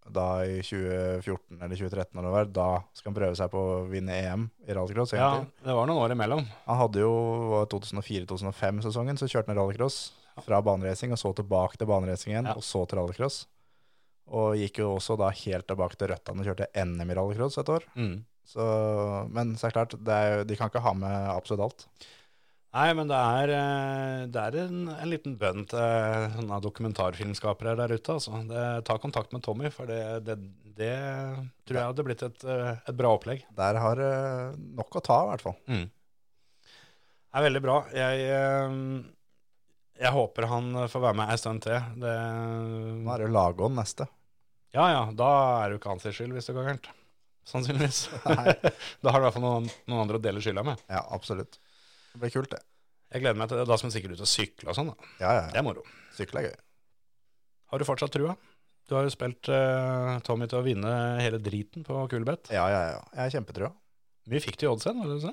Speaker 4: da i 2014 eller 2013, eller hva det var, da skal han prøve seg på å vinne EM i rallycross.
Speaker 3: Ja,
Speaker 4: egentlig.
Speaker 3: det var noen år imellom.
Speaker 4: Han hadde jo 2004-2005-sesongen, så kjørte han rallycross fra baneracing, og så tilbake til baneracing igjen,
Speaker 3: Ja.
Speaker 4: og så til rallycross. Og gikk jo også da helt tilbake til Rødt, han kjørte NM i rallycross et år.
Speaker 3: Mm.
Speaker 4: Så, men så er det klart, det er jo, de kan ikke ha med absolutt alt.
Speaker 3: Nei, men det er, eh, det er en, en liten bønn til eh, sånne dokumentarfilmskapere der ute. Altså. Det, ta kontakt med Tommy, for det, det, det tror jeg hadde blitt et, eh, et bra opplegg.
Speaker 4: Der har det nok å ta, i hvert fall.
Speaker 3: Mm. Det er veldig bra. Jeg, eh, jeg håper han får være med ei stund til. Det,
Speaker 4: Nå er det jo Lagånd neste.
Speaker 3: ja ja, da er det jo ikke hans skyld hvis det går gærent. Sannsynligvis. da har du i hvert fall noen, noen andre å dele skylda med.
Speaker 4: Ja, absolutt. Det blir kult, det.
Speaker 3: Jeg gleder meg til det. Da skal han sikkert ut og sykle og sånn. da.
Speaker 4: Ja, ja,
Speaker 3: Det er moro.
Speaker 4: ja. Sykkel er gøy.
Speaker 3: Har du fortsatt trua? Du har jo spilt eh, Tommy til å vinne hele driten på Kulbeth.
Speaker 4: Ja, ja, ja. Jeg har kjempetrua.
Speaker 3: Mye fikk du i oddsen, var det du sa?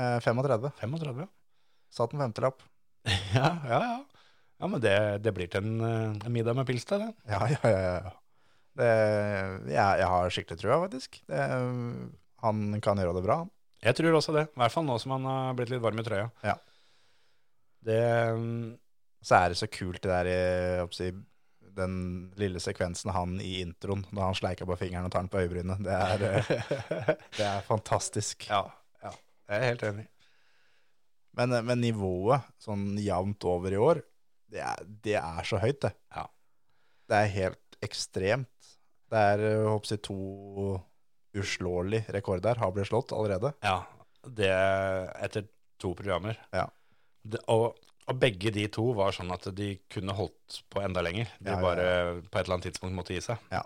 Speaker 4: Eh, 35.
Speaker 3: 35, ja.
Speaker 4: Satt en femtelapp.
Speaker 3: Ja, ja, ja. Ja, men det, det blir til en, eh, en middag med pils til, det.
Speaker 4: Ja, ja, ja. ja, ja. Det, jeg, jeg har skikkelig trua, faktisk. Det, han kan gjøre det bra. han.
Speaker 3: Jeg tror også det. I hvert fall nå som han har blitt litt varm i trøya.
Speaker 4: Ja.
Speaker 3: Det mm,
Speaker 4: Så er det så kult det der eh, hva skal jeg si, den lille sekvensen han i introen, da han sleiker på fingeren og tar den på øyebrynet. Det er, eh, det er fantastisk.
Speaker 3: Ja, ja. Jeg er helt enig.
Speaker 4: Men, eh, men nivået sånn jevnt over i år, det er, det er så høyt, det.
Speaker 3: Ja.
Speaker 4: Det er helt ekstremt. Det er eh, hva skal jeg si, to uslåelige rekorder har blitt slått allerede.
Speaker 3: Ja. Det etter to programmer.
Speaker 4: Ja.
Speaker 3: Det, og, og begge de to var sånn at de kunne holdt på enda lenger.
Speaker 4: Ja,
Speaker 3: De
Speaker 4: ja, ja.
Speaker 3: bare på et eller annet tidspunkt måtte gi seg.
Speaker 4: Ja.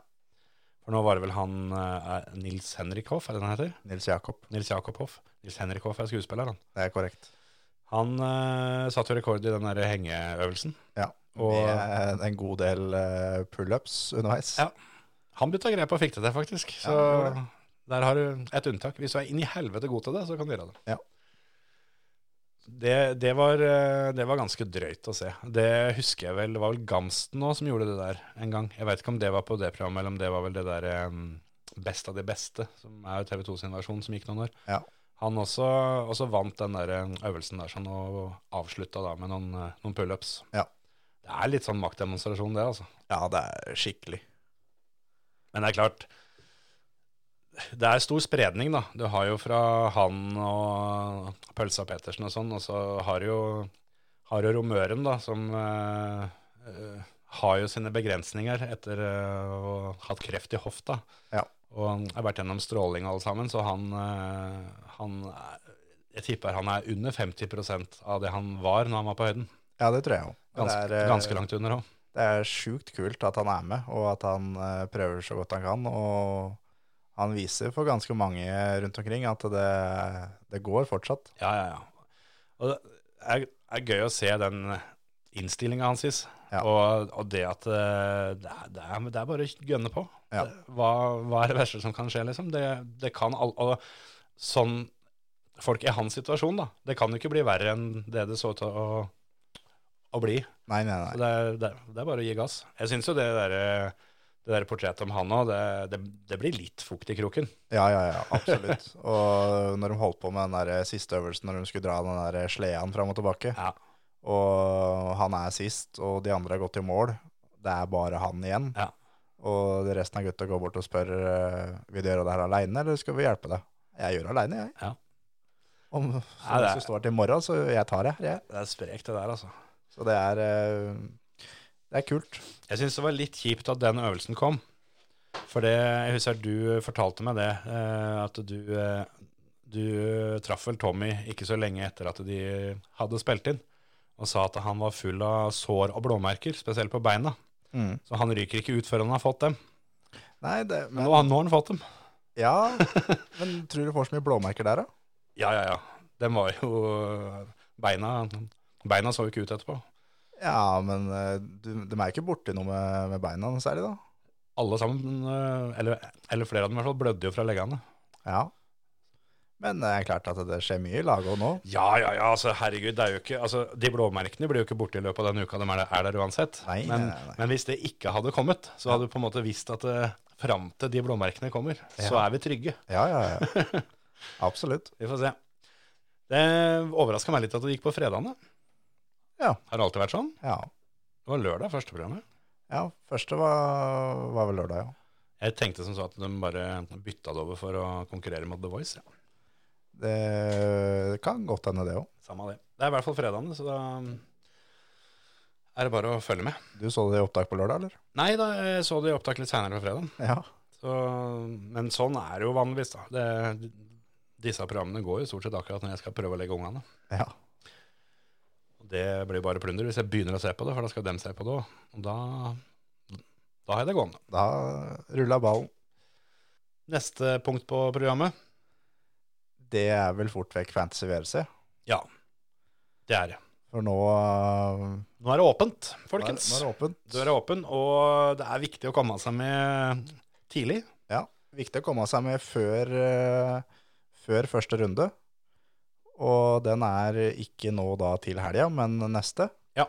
Speaker 3: For nå var det vel han eh, Nils Henrik Hoff, er det han heter?
Speaker 4: Nils Jakob,
Speaker 3: Nils Jakob Hoff. Nils Henrik Hoff er skuespiller, han.
Speaker 4: det er korrekt.
Speaker 3: Han eh, satte jo rekord i den der hengeøvelsen.
Speaker 4: Ja,
Speaker 3: Og-
Speaker 4: med en god del eh, pull-ups underveis.
Speaker 3: Ja. Han bytta grep og fikk det til, faktisk. Så
Speaker 4: Ja, det gjorde
Speaker 3: der har du et unntak. Hvis du er inn i helvete god til det, så kan du gjøre det.
Speaker 4: Ja.
Speaker 3: Det, det, var, eh, det var ganske drøyt å se. Det husker jeg vel, det var vel Gamsten nå som gjorde det der en gang. Jeg vet ikke om det var på det programmet, eller om det var vel det der eh, Best av de beste, som er TV 2 sin versjon, som gikk noen år.
Speaker 4: Ja.
Speaker 3: Han også, også vant den der eh, øvelsen der sånn, og avslutta da med noen, eh, noen pullups.
Speaker 4: Ja.
Speaker 3: Det er litt sånn maktdemonstrasjon, det, altså.
Speaker 4: Ja, det er skikkelig.
Speaker 3: Men det er klart, det er stor spredning da. Du har jo fra han og Pølsa Petersen og sånn, og så har jo, har jo Romøren da, som eh, eh, har jo sine begrensninger etter eh, å ha hatt kreft i hofta.
Speaker 4: Ja.
Speaker 3: Og han har vært gjennom stråling alle sammen, så han, eh, han er, jeg tipper han er under 50 av det han var når han var på høyden.
Speaker 4: Ja, det tror jeg òg.
Speaker 3: Ganske,
Speaker 4: det er, eh,
Speaker 3: ganske langt under òg.
Speaker 4: Det er sjukt kult at han er med, og at han eh, prøver så godt han kan. Og han viser for ganske mange rundt omkring at det, det går fortsatt.
Speaker 3: Ja, ja, ja. Og det er, er gøy å se den innstillinga hans, Sis.
Speaker 4: Ja.
Speaker 3: Og, og det at eh, det er, det er, det er bare å gønne på.
Speaker 4: Ja.
Speaker 3: Hva, hva er det verste som kan skje, liksom? Det, det kan all, og sånn folk i hans situasjon, da. Det kan jo ikke bli verre enn det det så ut til å, å bli.
Speaker 4: Nei, nei,
Speaker 3: Så
Speaker 4: nei.
Speaker 3: Det er, det, er- det er bare å gi gass. Jeg syns jo det derre det der portrettet om han òg, det, det, det blir litt fukt i kroken.
Speaker 4: Ja, ja, ja, absolutt. Og når de holdt på med den der siste øvelsen, når de skulle dra den der sleden fram og tilbake,
Speaker 3: Ja.
Speaker 4: og han er sist, og de andre har gått i mål, det er bare han igjen.
Speaker 3: Ja.
Speaker 4: Og resten av gutta går bort og spør eh, vil du gjøre det her aleine, eller skal vi hjelpe deg? Jeg gjør det aleine, jeg.
Speaker 3: Ja.
Speaker 4: Om så
Speaker 3: Ja, det er-
Speaker 4: hvis det står til i morgen, så jeg tar det. her, Jeg.
Speaker 3: Det er sprekt, det der, altså.
Speaker 4: Så det er, eh, det er kult.
Speaker 3: Jeg syns det var litt kjipt at den øvelsen kom. For det, jeg husker du fortalte meg det, eh, at du, eh, du traff vel Tommy ikke så lenge etter at de hadde spilt inn, og sa at han var full av sår og blåmerker, spesielt på beina. Så han ryker ikke ut før han har fått dem.
Speaker 4: Mm. Nei, det, men,
Speaker 3: Men nå, nå har han fått dem.
Speaker 4: ja, men tror du får så mye blåmerker der, da?
Speaker 3: Ja, ja, ja. Den var jo Beina, beina så jo ikke ut etterpå.
Speaker 4: Ja, men eh, du, de er ikke borti noe med, med beina noe særlig, da.
Speaker 3: Alle sammen, eh, eller, eller flere av dem i hvert fall, blødde jo fra leggene.
Speaker 4: Ja. Men det er klart at det skjer mye i laget nå.
Speaker 3: Ja, ja, ja, altså herregud, det er jo ikke altså, De blåmerkene blir jo ikke borte i løpet av den uka de er der, er der uansett.
Speaker 4: Nei,
Speaker 3: men,
Speaker 4: nei, nei.
Speaker 3: men hvis det ikke hadde kommet, så hadde du på en måte visst at eh, fram til de blåmerkene kommer, så er vi trygge.
Speaker 4: Ja, ja, ja. Absolutt.
Speaker 3: Vi får se. Det overraska meg litt at det gikk på fredagene.
Speaker 4: Ja.
Speaker 3: Har det alltid vært sånn?
Speaker 4: Ja.
Speaker 3: Det var lørdag, første programmet.
Speaker 4: ja første var, var vel lørdag, ja.
Speaker 3: Jeg tenkte som så at de bare bytta det over for å konkurrere mot The Voice. Ja.
Speaker 4: Det kan godt hende, det òg.
Speaker 3: Samme det. Det er i hvert fall fredagene, så da er det bare å følge med.
Speaker 4: Du så det i opptak på lørdag, eller?
Speaker 3: Nei da, jeg så det i opptak litt seinere på fredagen.
Speaker 4: Ja.
Speaker 3: Så, men sånn er det jo vanligvis, da. Det, disse programmene går jo stort sett akkurat når jeg skal prøve å legge ungene.
Speaker 4: ja.
Speaker 3: Og Det blir bare plunder hvis jeg begynner å se på det, for da skal dem se på det òg. Og da, da har jeg det gående.
Speaker 4: Da rulla ballen.
Speaker 3: Neste punkt på programmet,
Speaker 4: Det er vel fort vekk Fantasy VRC.
Speaker 3: det er det.
Speaker 4: For nå eh,
Speaker 3: Nå er det åpent,
Speaker 4: Nå er-
Speaker 3: folkens.
Speaker 4: Nå er det åpent.
Speaker 3: Døra er åpen, og det er viktig å komme seg med tidlig.
Speaker 4: Ja, viktig å komme seg med før, eh, før første runde. Og den er ikke nå da til helga, men neste.
Speaker 3: Ja.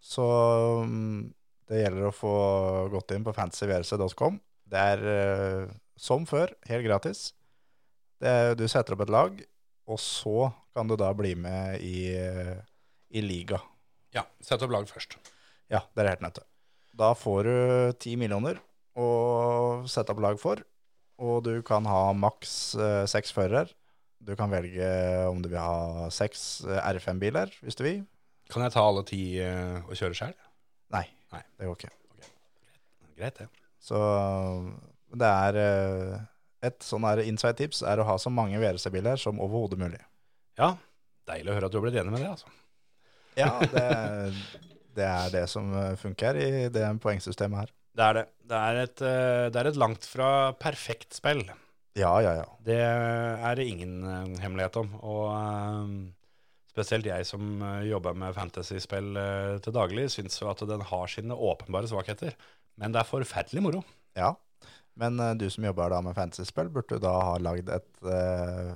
Speaker 4: Så mm, det gjelder å få gått inn på fantasyvrc.com. Det er eh, som før, helt gratis. Det, er- du setter opp et lag, og så kan du da bli med i, eh, i liga.
Speaker 3: Ja, sett opp lag først.
Speaker 4: Ja, det er helt nødt til. Da får du 10 millioner å sette opp lag for, og du kan ha maks eh, seks førere. Du kan velge om du vil ha seks eh, R5-biler, hvis du vil.
Speaker 3: Kan jeg ta alle ti eh, og kjøre sjøl?
Speaker 4: Nei,
Speaker 3: Nei.
Speaker 4: det går ikke.
Speaker 3: Greit, det.
Speaker 4: Så eh, det er eh, et sånn her inside tips er å ha så mange VRC-biler som overhodet mulig.
Speaker 3: Ja, deilig å høre at du har blitt enig med det, altså.
Speaker 4: Ja, det, det er det som eh, funker i det poengsystemet her.
Speaker 3: Det er det. Det er et, eh, det er et langt fra perfekt spill.
Speaker 4: Ja, ja, ja.
Speaker 3: Det er det ingen eh, hemmelighet om. Og eh, spesielt jeg som eh, jobber med fantasyspill eh, til daglig, syns jo at den har sine åpenbare svakheter. Men det er forferdelig moro.
Speaker 4: Ja, men eh, du som jobber da med fantasy-spill, burde da ha lagd et, eh,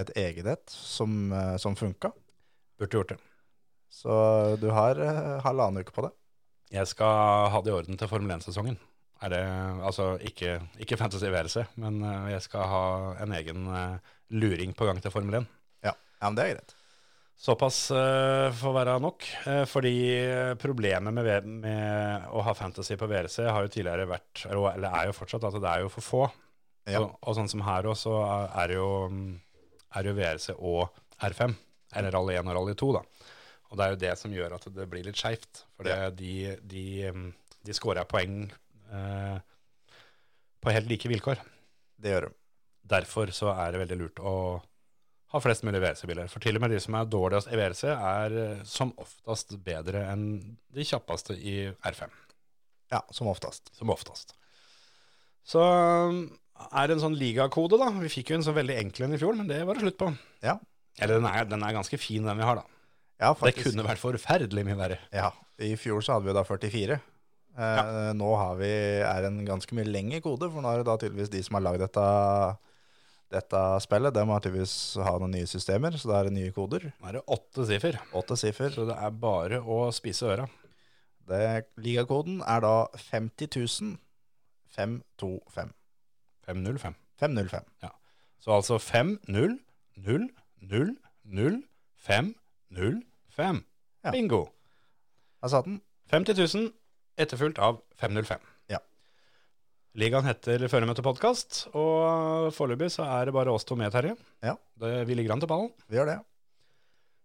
Speaker 4: et eget et som, eh, som funka.
Speaker 3: Burde gjort det.
Speaker 4: Så du har eh, halvannen uke på det.
Speaker 3: Jeg skal ha det i orden til Formel 1-sesongen. Er det, altså ikke, ikke fantasy VRC, men eh, jeg skal ha en egen eh, luring på gang til Formel 1.
Speaker 4: Ja, men det er greit.
Speaker 3: Såpass eh, får være nok. eh, fordi eh, problemet med, V- med å ha fantasy på VRC har jo tidligere vært, eller eller er jo fortsatt, at det er jo for få.
Speaker 4: Ja.
Speaker 3: Og, og sånn som her òg, så er det jo, mm, er det jo VRC og R5. Eller Rally 1 og Rally 2, da. Og det er jo det som gjør at det blir litt skeivt. For det, de, de, mm, de scorer poeng eh, på helt like vilkår.
Speaker 4: Det gjør du.
Speaker 3: Derfor så er det veldig lurt å ha flest mulig WRC-biler. For til og med de som er dårligst i WRC, er eh, som oftest bedre enn de kjappeste i R5.
Speaker 4: Ja, som oftest.
Speaker 3: Som oftest. Så um, er det en sånn ligakode, da. Vi fikk jo en sånn veldig enkel en i fjor, men det var det slutt på.
Speaker 4: Ja,
Speaker 3: Eller den er, den er ganske fin, den vi har, da.
Speaker 4: ja faktisk.
Speaker 3: Det kunne vært forferdelig mye verre.
Speaker 4: Ja, I fjor så hadde vi da 44. Eh, Nå har vi, er en ganske mye lengre kode, for nå er det da tydeligvis de som har lagd dette, dette spillet, de har tydeligvis ha noen nye systemer, så da er det nye koder.
Speaker 3: Nå er det åtte siffer,
Speaker 4: Åtte siffer.
Speaker 3: så det er bare å spise øra.
Speaker 4: Det- Ligakoden er da 50 525.
Speaker 3: 505.
Speaker 4: 505.
Speaker 3: Så altså 5, 0, 0, 0, 0, 5, 0, 5.
Speaker 4: Ja.
Speaker 3: Bingo.
Speaker 4: Jeg satt den.
Speaker 3: 50 000 etterfulgt av 505.
Speaker 4: Ja.
Speaker 3: Ligaen heter Føremøte podkast, og foreløpig så er det bare oss to med, Terje.
Speaker 4: Ja.
Speaker 3: Det, vi ligger an til ballen.
Speaker 4: Vi gjør det.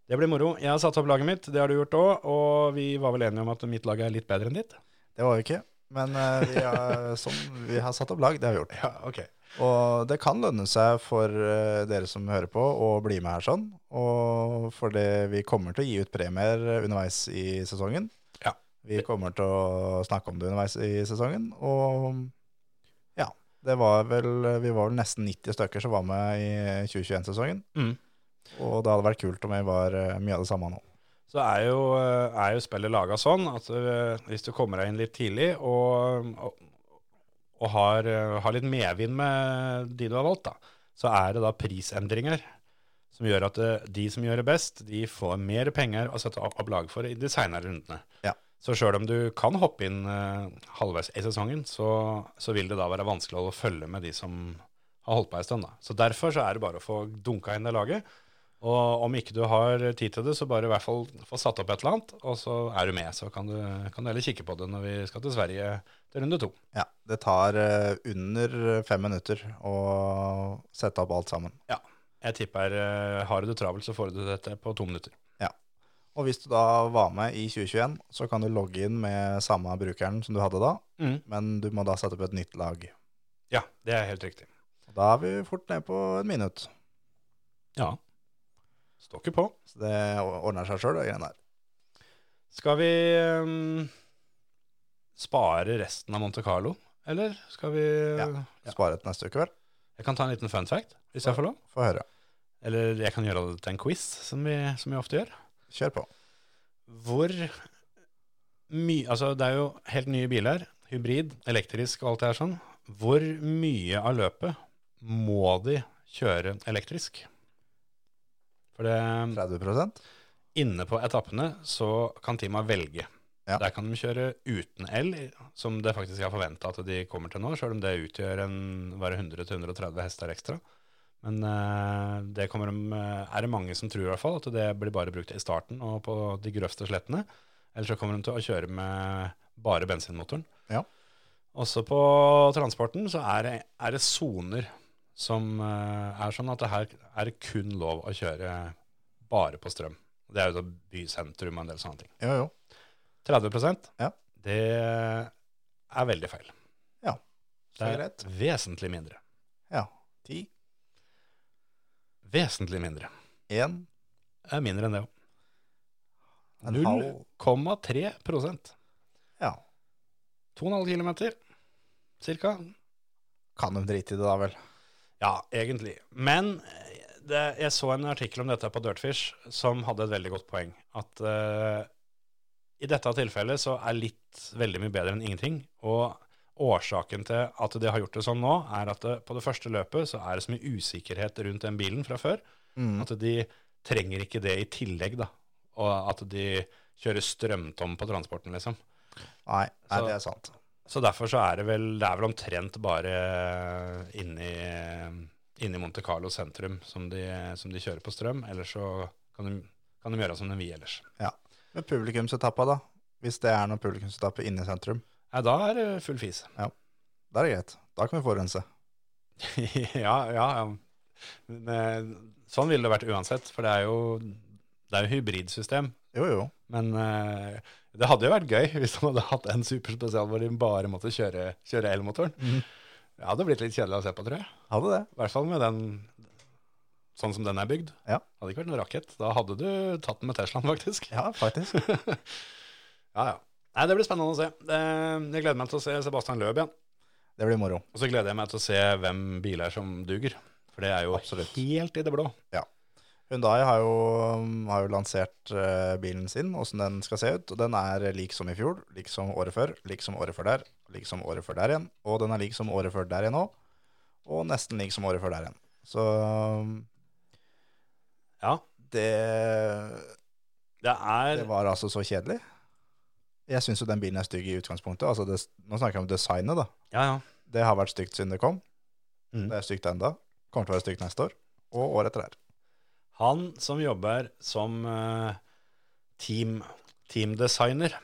Speaker 3: Det blir moro. Jeg har satt opp laget mitt, det har du gjort òg, og vi var vel enige om at mitt lag er litt bedre enn ditt?
Speaker 4: Det var vi ikke. Men eh, vi, har, sånn, vi har satt opp lag, det har vi gjort.
Speaker 3: Ja, ok.
Speaker 4: Og det kan lønne seg for eh, dere som hører på å bli med her sånn. Og for det, vi kommer til å gi ut premier underveis i sesongen.
Speaker 3: Ja.
Speaker 4: Vi kommer til å snakke om det underveis i sesongen. Og ja, det var vel, vi var vel nesten 90 stykker som var med i 2021-sesongen.
Speaker 3: Mm.
Speaker 4: Og det hadde vært kult om vi var eh, mye av det samme nå.
Speaker 3: så er jo, eh, er jo spillet laga sånn at eh, hvis du kommer deg inn litt tidlig og, og, og har, eh, har litt medvind med de du har valgt, da, så er det da prisendringer som gjør at eh, de som gjør det best, de får mer penger å sette opp lag for i de seinere rundene.
Speaker 4: Ja.
Speaker 3: Så sjøl om du kan hoppe inn eh, halvveis i sesongen, så, så vil det da være vanskelig å følge med de som har holdt på en stund. Da. Så derfor så er det bare å få dunka inn det laget. Og om ikke du har tid til det, så bare i hvert fall få satt opp et eller annet, og så er du med. Så kan du, kan du heller kikke på det når vi skal til Sverige til runde to.
Speaker 4: Ja, det tar eh, under fem minutter å sette opp alt sammen.
Speaker 3: Jeg tipper eh, har du det travelt, så får du dette på to minutter.
Speaker 4: Og hvis du da var med i 2021, så kan du logge inn med samme brukeren som du hadde da, men du må da sette opp et nytt lag.
Speaker 3: Ja, det er helt riktig.
Speaker 4: Og da er vi fort ned på et minutt.
Speaker 3: Ja. Står ikke på.
Speaker 4: Så det ordner seg sjøl, de greiene der.
Speaker 3: Skal vi eh, spare resten av Monte Carlo, eller skal vi
Speaker 4: Ja. Spare til neste uke, vel.
Speaker 3: Jeg kan ta en liten fun fact, hvis jeg får lov.
Speaker 4: Få høre.
Speaker 3: Eller jeg kan gjøre det til en quiz, som vi, som vi ofte gjør.
Speaker 4: Kjør på.
Speaker 3: Hvor mye Altså, det er jo helt nye biler. Hybrid, elektrisk og alt det her sånn. Hvor mye av løpet må de kjøre elektrisk? For det
Speaker 4: 30
Speaker 3: inne på etappene så kan teama velge.
Speaker 4: Ja.
Speaker 3: Der kan de kjøre uten el, som det faktisk er forventa at de kommer til nå, sjøl om det utgjør en, bare 100-130 hester ekstra. Men eh, det kommer de, er det mange som tror i hvert fall, at det blir bare brukt i starten og på de grøvste slettene. Eller så kommer de til å kjøre med bare bensinmotoren.
Speaker 4: Ja.
Speaker 3: Også på transporten så er det- er det soner som eh, er sånn at det her er det kun lov å kjøre bare på strøm. Det er jo da bysentrum og en del sånne ting.
Speaker 4: Jo, jo.
Speaker 3: 30
Speaker 4: Ja.
Speaker 3: det er veldig feil.
Speaker 4: Ja,
Speaker 3: Det
Speaker 4: så
Speaker 3: er
Speaker 4: greit.
Speaker 3: vesentlig mindre.
Speaker 4: Ja. 10,
Speaker 3: Vesentlig mindre.
Speaker 4: 1,
Speaker 3: Det er mindre enn det òg.
Speaker 4: en halv
Speaker 3: 0,3
Speaker 4: Ja.
Speaker 3: 2,5 km cirka.
Speaker 4: Kan de drite i det, da vel?
Speaker 3: Ja, egentlig. Men eh, det, jeg så en artikkel om dette på Dirtfish som hadde et veldig godt poeng. At eh, i dette tilfellet så er litt veldig mye bedre enn ingenting. Og årsaken til at de har gjort det sånn nå, er at det, på det første løpet så er det så mye usikkerhet rundt den bilen fra før,
Speaker 4: Mm.
Speaker 3: at de trenger ikke det i tillegg, da. Og at de kjører strømtom på transporten, liksom.
Speaker 4: Nei, nei,
Speaker 3: Så-
Speaker 4: det er sant.
Speaker 3: Så derfor så er det vel, det er vel omtrent bare eh, inni, inni eh, Monte Carlo sentrum som de, som de kjører på strøm, ellers så kan de, kan de gjøre som de vil ellers.
Speaker 4: Men publikumsetappa, da? Hvis det er noen publikumsetappe inne i sentrum,
Speaker 3: Ja, da er det full fis.
Speaker 4: da er det greit. Da kan vi forurense.
Speaker 3: ja, ja, ja. Men, eh, sånn ville det vært uansett, for det er jo, det er jo hybridsystem.
Speaker 4: Jo, jo.
Speaker 3: Men eh, det hadde jo vært gøy hvis de hadde hatt en superspesial hvor de bare måtte kjøre, kjøre elmotoren.
Speaker 4: Mhm.
Speaker 3: Det hadde blitt litt kjedelig å se på, tror jeg.
Speaker 4: Hadde det.
Speaker 3: I hvert fall med den sånn som den er bygd.
Speaker 4: Ja.
Speaker 3: Hadde ikke vært noen rakett. Da hadde du tatt den med Teslaen, faktisk.
Speaker 4: Ja, faktisk.
Speaker 3: Ja, ja. Nei, det blir spennende å se. Eh, Jeg gleder meg til å se Sebastian Løb igjen.
Speaker 4: Det blir moro.
Speaker 3: Og så gleder jeg meg til å se hvem biler som duger. For det er jo
Speaker 4: Absolutt.
Speaker 3: helt i det blå.
Speaker 4: Hyundai har jo, mm, har jo lansert eh, bilen sin, åssen den skal se ut. Og den er lik som i fjor, lik som året før, lik som året før der, lik som året før der igjen. Og den er lik som året før der igjen òg. Og nesten lik som året før der igjen. Så mm,
Speaker 3: Ja,
Speaker 4: det
Speaker 3: det er
Speaker 4: Det var altså så kjedelig. Jeg syns jo den bilen er stygg i utgangspunktet. Altså det, nå snakker jeg om designet, da.
Speaker 3: Ja, ja.
Speaker 4: Det har vært stygt siden det kom.
Speaker 3: Mm.
Speaker 4: Det er stygt enda. Kommer til å være stygt neste år. Og året etter der.
Speaker 3: Han som jobber som eh, team, teamdesigner,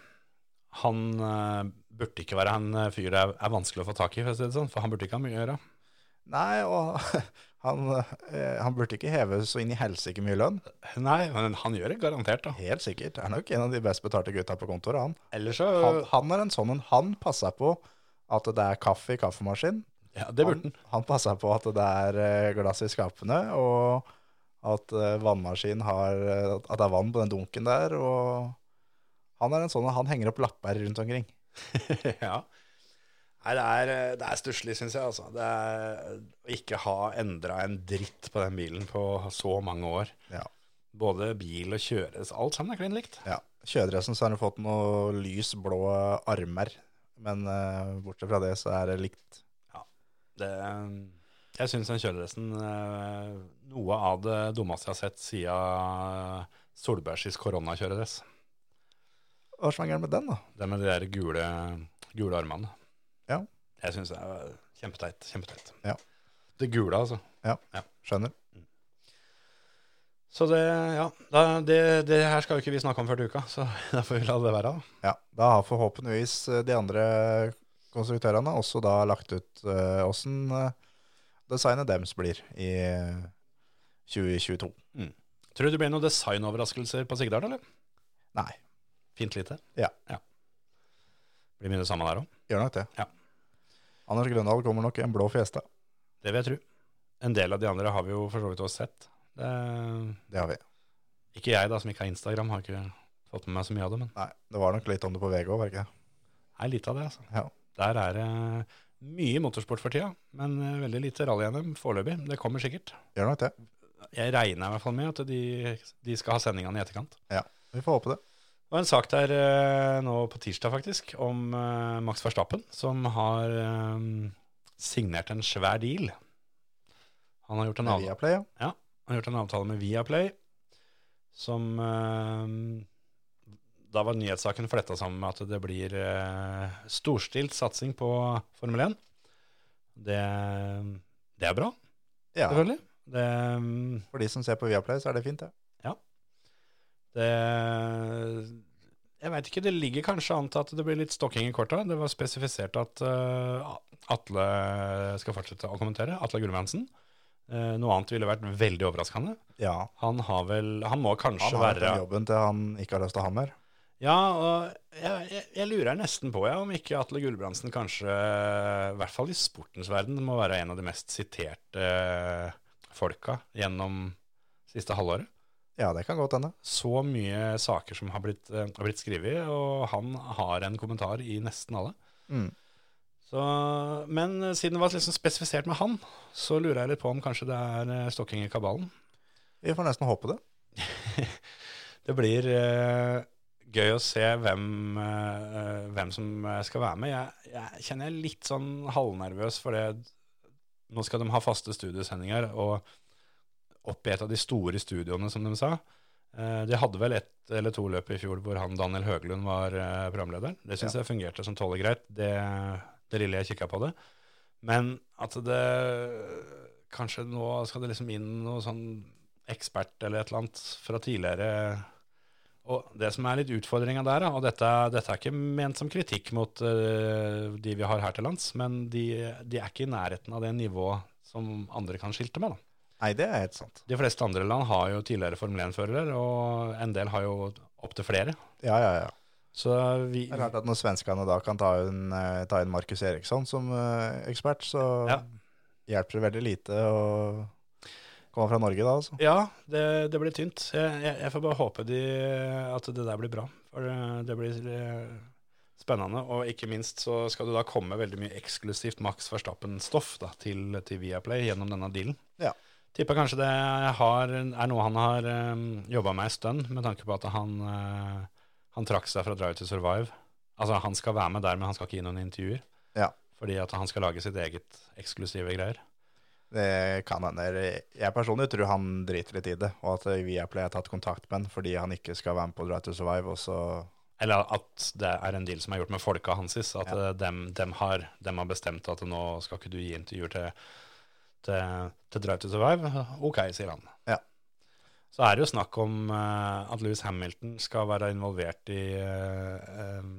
Speaker 3: han eh, burde ikke være en eh, fyr det er, er vanskelig å få tak i, for, å si det sånn, for han burde ikke ha mye å gjøre.
Speaker 4: Nei, og han, eh, han burde ikke heve så inn i helsike mye lønn.
Speaker 3: Nei, men han gjør det garantert, da.
Speaker 4: Helt sikkert. Er nok en av de best betalte gutta på kontoret, han.
Speaker 3: Ellers så
Speaker 4: Han, han er en sånn en. Han passer på at det er kaffe i kaffemaskinen.
Speaker 3: Ja, det burde han.
Speaker 4: Han, han passer på at det er eh, glass i skapene, og at eh, vannmaskinen har eh, At det er vann på den dunken der, og han er en sånn Han henger opp lapper rundt omkring.
Speaker 3: ja. Nei, det er, det er stusslig, syns jeg. Altså. Det er, å ikke ha endra en dritt på den bilen på så mange år.
Speaker 4: Ja.
Speaker 3: Både bil og kjøres, alt sammen er klin likt.
Speaker 4: ja. Kjøredressen så har han fått noe lys blå armer, men eh, bortsett fra det så er det likt.
Speaker 3: Det, jeg syns den kjøredressen eh, Noe av det dummeste jeg har sett siden Solbergs koronakjøredress.
Speaker 4: Hva som er gærent med den, da?
Speaker 3: Det med de der gule, gule armene.
Speaker 4: Ja.
Speaker 3: Jeg syns det er kjempeteit. Kjempeteit.
Speaker 4: Ja.
Speaker 3: Det gule, altså.
Speaker 4: Skjønner.
Speaker 3: Så det, ja. Da, det, det her skal jo ikke vi snakke om før til uka, så da får vi la det være. da.
Speaker 4: Ja, da har forhåpentligvis eh, de andre konstruktørene også da lagt ut eh, åssen eh, designet deres blir i eh, 2022.
Speaker 3: Tror du det blir noen designoverraskelser på Sigdal, eller?
Speaker 4: Nei,
Speaker 3: Fint lite?
Speaker 4: Ja.
Speaker 3: Blir mye det samme der òg.
Speaker 4: gjør nok det.
Speaker 3: Ja.
Speaker 4: Anders Grøndal kommer nok i en blå fiesta.
Speaker 3: Det vil jeg tro. En del av de andre har vi jo for så vidt også sett. Det,
Speaker 4: Det har vi.
Speaker 3: ikke jeg, da, som ikke har Instagram, har ikke fått med meg så mye av det, men
Speaker 4: Nei, det var nok litt om det på VG òg, var det ikke det?
Speaker 3: det er litt av det, altså.
Speaker 4: Ja.
Speaker 3: Der er det mye motorsport for tida, men eh, veldig lite rally-NM foreløpig. Det kommer sikkert.
Speaker 4: Gjør nok det.
Speaker 3: Jeg regner i hvert fall med at de, de skal ha sendingene i etterkant.
Speaker 4: Vi får håpe det.
Speaker 3: Det var en sak der eh, nå på tirsdag faktisk, om eh, Max Verstappen, som har eh, signert en svær deal. Han har gjort en,
Speaker 4: Med
Speaker 3: av,
Speaker 4: Viaplay, ja.
Speaker 3: han har gjort en avtale med Viaplay, som eh, da var nyhetssaken fletta sammen med at det blir eh, storstilt satsing på Formel 1. Det, det er bra,
Speaker 4: ja.
Speaker 3: selvfølgelig. Det, mm,
Speaker 4: For de som ser på Viaplay, så er det fint, det.
Speaker 3: Det Jeg veit ikke. Det ligger kanskje an til at det blir litt stokking i korta. Det var spesifisert at eh, Atle skal fortsette å kommentere. Atle Gulbrandsen. Eh, noe annet ville vært veldig overraskende.
Speaker 4: Ja.
Speaker 3: Han har vel Han må kanskje
Speaker 4: Han har vært
Speaker 3: være
Speaker 4: den jobben til han ikke har lyst til å ha mer.
Speaker 3: Ja, og jeg, jeg, jeg lurer nesten på ja, om ikke Atle Gulbrandsen kanskje, i hvert fall i sportens verden, må være en av de mest siterte eh, folka gjennom siste halvåret.
Speaker 4: Ja, det kan godt hende.
Speaker 3: så mye saker som har blitt, eh, har blitt skrevet, og han har en kommentar i nesten alle.
Speaker 4: Mm.
Speaker 3: Så, men eh, siden det var liksom spesifisert med han, så lurer jeg litt på om kanskje det er eh, stokking i kabalen.
Speaker 4: Vi får nesten håpe det.
Speaker 3: Det blir eh, gøy å se hvem, eh, hvem som eh, skal være med. Jeg, jeg kjenner jeg er litt sånn halvnervøs, for det, nå skal de ha faste studiosendinger, og opp i et av de store studioene, som de sa. Eh, de hadde vel ett eller to løp i fjor hvor han Daniel Høglund var eh, programleder. Det syns jeg fungerte som tåler greit, det, det lille jeg kikka på det. Men at det Kanskje nå skal det liksom inn noe sånn ekspert eller et eller annet fra tidligere. Og det som er litt utfordringa der, da, og dette, dette er ikke ment som kritikk mot eh, de vi har her til lands, men de, de er ikke i nærheten av det nivået som andre kan skilte med. da.
Speaker 4: Nei, det er helt sant.
Speaker 3: De fleste andre land har jo tidligere Formel 1-førere, og en del har jo opptil flere.
Speaker 4: Ja, ja, ja.
Speaker 3: Så vi,
Speaker 4: Det er klart at når svenskene da kan ta inn, eh, ta inn Markus Eriksson som eh, ekspert, så
Speaker 3: Ja.
Speaker 4: hjelper det veldig lite å Kommer fra Norge da, altså.
Speaker 3: Ja, det, det blir tynt. Jeg, jeg, jeg får bare håpe de, at det der blir bra. For eh, det blir eh, spennende. Og ikke minst så skal det da komme veldig mye eksklusivt Max Verstappen-stoff da, til, til Viaplay gjennom denne dealen.
Speaker 4: Ja.
Speaker 3: Tipper kanskje det har, er noe han har um, jobba med en stund, med tanke på at han, eh, han trakk seg fra Drive to Survive. Altså, han skal være med der, men han skal ikke gi noen intervjuer.
Speaker 4: Ja.
Speaker 3: Fordi at han skal lage sitt eget eksklusive greier.
Speaker 4: Det kan hende. Jeg personlig tror han driter litt i det, og at Viaplay har tatt kontakt med han fordi han ikke skal være med på Drive to Survive. Og så
Speaker 3: Eller at det er en deal som er gjort med folka hans. At eh, dem, dem, har, dem har bestemt at nå skal ikke du gi intervjuer til, til, til Drive to Survive. Ok, sier han.
Speaker 4: Ja.
Speaker 3: Så er det jo snakk om eh, at Louis Hamilton skal være involvert i eh, eh,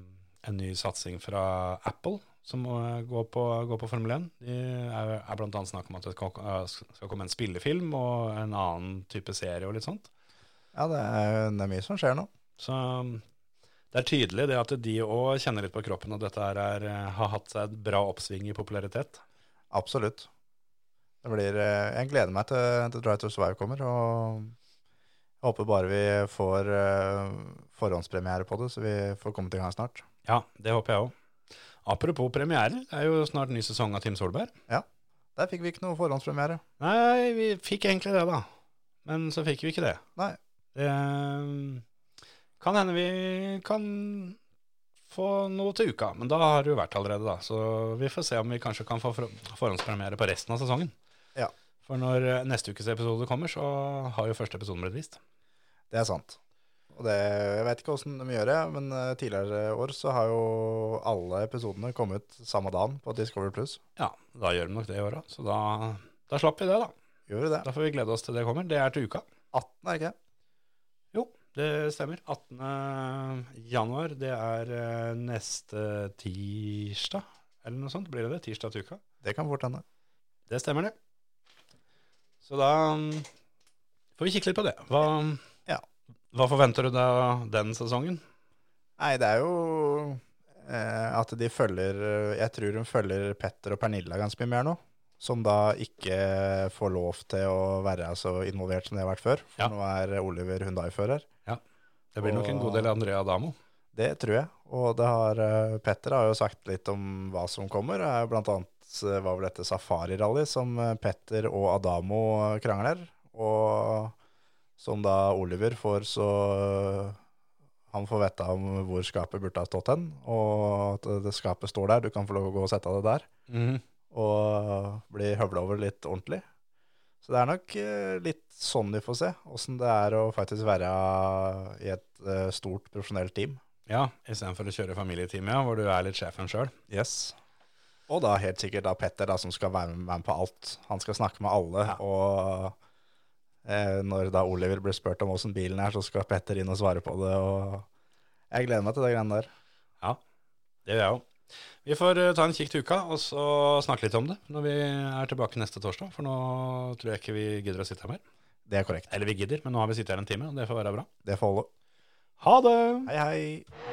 Speaker 3: en ny satsing fra Apple, som eh, går på, går på Formel 1. Det er, er blant annet snakk om at det skal, eh, skal komme en spillefilm og en annen type serie og litt sånt.
Speaker 4: ja, det er, det er mye som skjer nå.
Speaker 3: Så um, det er tydelig det at de òg kjenner litt på kroppen at dette her er, eh, har hatt seg et bra oppsving i popularitet.
Speaker 4: Absolutt. Det blir, eh, jeg gleder meg til, til Drive to Survive kommer, og jeg håper bare vi får eh, forhåndspremiere på det, så vi får kommet i gang snart.
Speaker 3: Ja, det håper jeg òg. Apropos premierer, det er jo snart ny sesong av Team Solberg.
Speaker 4: Der fikk vi ikke noe forhåndspremiere.
Speaker 3: Nei, vi fikk egentlig det, da. Men så fikk vi ikke det.
Speaker 4: Nei.
Speaker 3: Det um, kan hende vi kan få noe til uka, men da har det jo vært allerede, da. Så vi får se om vi kanskje kan få for- forhåndspremiere på resten av sesongen.
Speaker 4: Ja.
Speaker 3: For når eh, neste ukes episode kommer, så har jo første episoden blitt vist.
Speaker 4: Det er sant. Og det, jeg vet ikke åssen de gjør det, men eh, tidligere år så har jo alle episodene kommet samme dagen på Discovery Pluss.
Speaker 3: Ja, da gjør de nok det i år òg. Så da, da slapp vi det, da.
Speaker 4: Gjør vi det?
Speaker 3: Da får vi glede oss til det kommer. Det er til uka.
Speaker 4: 18, er det ikke? det?
Speaker 3: Jo, det stemmer. 18. januar, det er eh, neste tirsdag, eller noe sånt. Blir det det? Tirsdag til uka?
Speaker 4: Det kan fort hende.
Speaker 3: Det stemmer, det. Så da mm, får vi kikke litt på det. Hva,
Speaker 4: Ja.
Speaker 3: hva forventer du deg av den sesongen?
Speaker 4: Nei, det er jo eh, at de følger Jeg tror hun følger Petter og Pernilla ganske mye mer nå. Som da ikke får lov til å være så involvert som de har vært før. For
Speaker 3: Ja.
Speaker 4: nå er Oliver Hundai-fører.
Speaker 3: Det blir nok en god del Andrea Damo.
Speaker 4: Det tror jeg. Og det har, eh, Petter har jo sagt litt om hva som kommer. Eh, Blant annet eh, var vel dette safarirally som eh, Petter og Adamo eh, krangler. Og som da Oliver får så øh, Han får vite om hvor skapet burde ha stått hen. Og at det skapet står der, du kan få lov å gå og sette det der.
Speaker 3: Mhm.
Speaker 4: Og bli høvla over litt ordentlig. Så det er nok eh, litt sånn de får se, åssen det er å faktisk være i et eh, stort profesjonelt team.
Speaker 3: Ja, istedenfor å kjøre familieteam, ja, hvor du er litt sjefen sjøl.
Speaker 4: Yes. Og da helt sikkert da Petter da, som skal være med, være med på alt. Han skal snakke med alle, og eh, når da Oliver blir spurt om åssen bilen er, så skal Petter inn og svare på det, og jeg gleder meg til det greiene der.
Speaker 3: Det gjør jeg òg. Vi får eh, ta en kikk til uka, og så snakke litt om det når vi er tilbake neste torsdag. For nå tror jeg ikke vi gidder å sitte her mer.
Speaker 4: Det er korrekt.
Speaker 3: Eller vi gidder, men nå har vi sittet her en time, og det får være bra.
Speaker 4: Det får holde.
Speaker 3: Ha det!
Speaker 4: Hei, hei.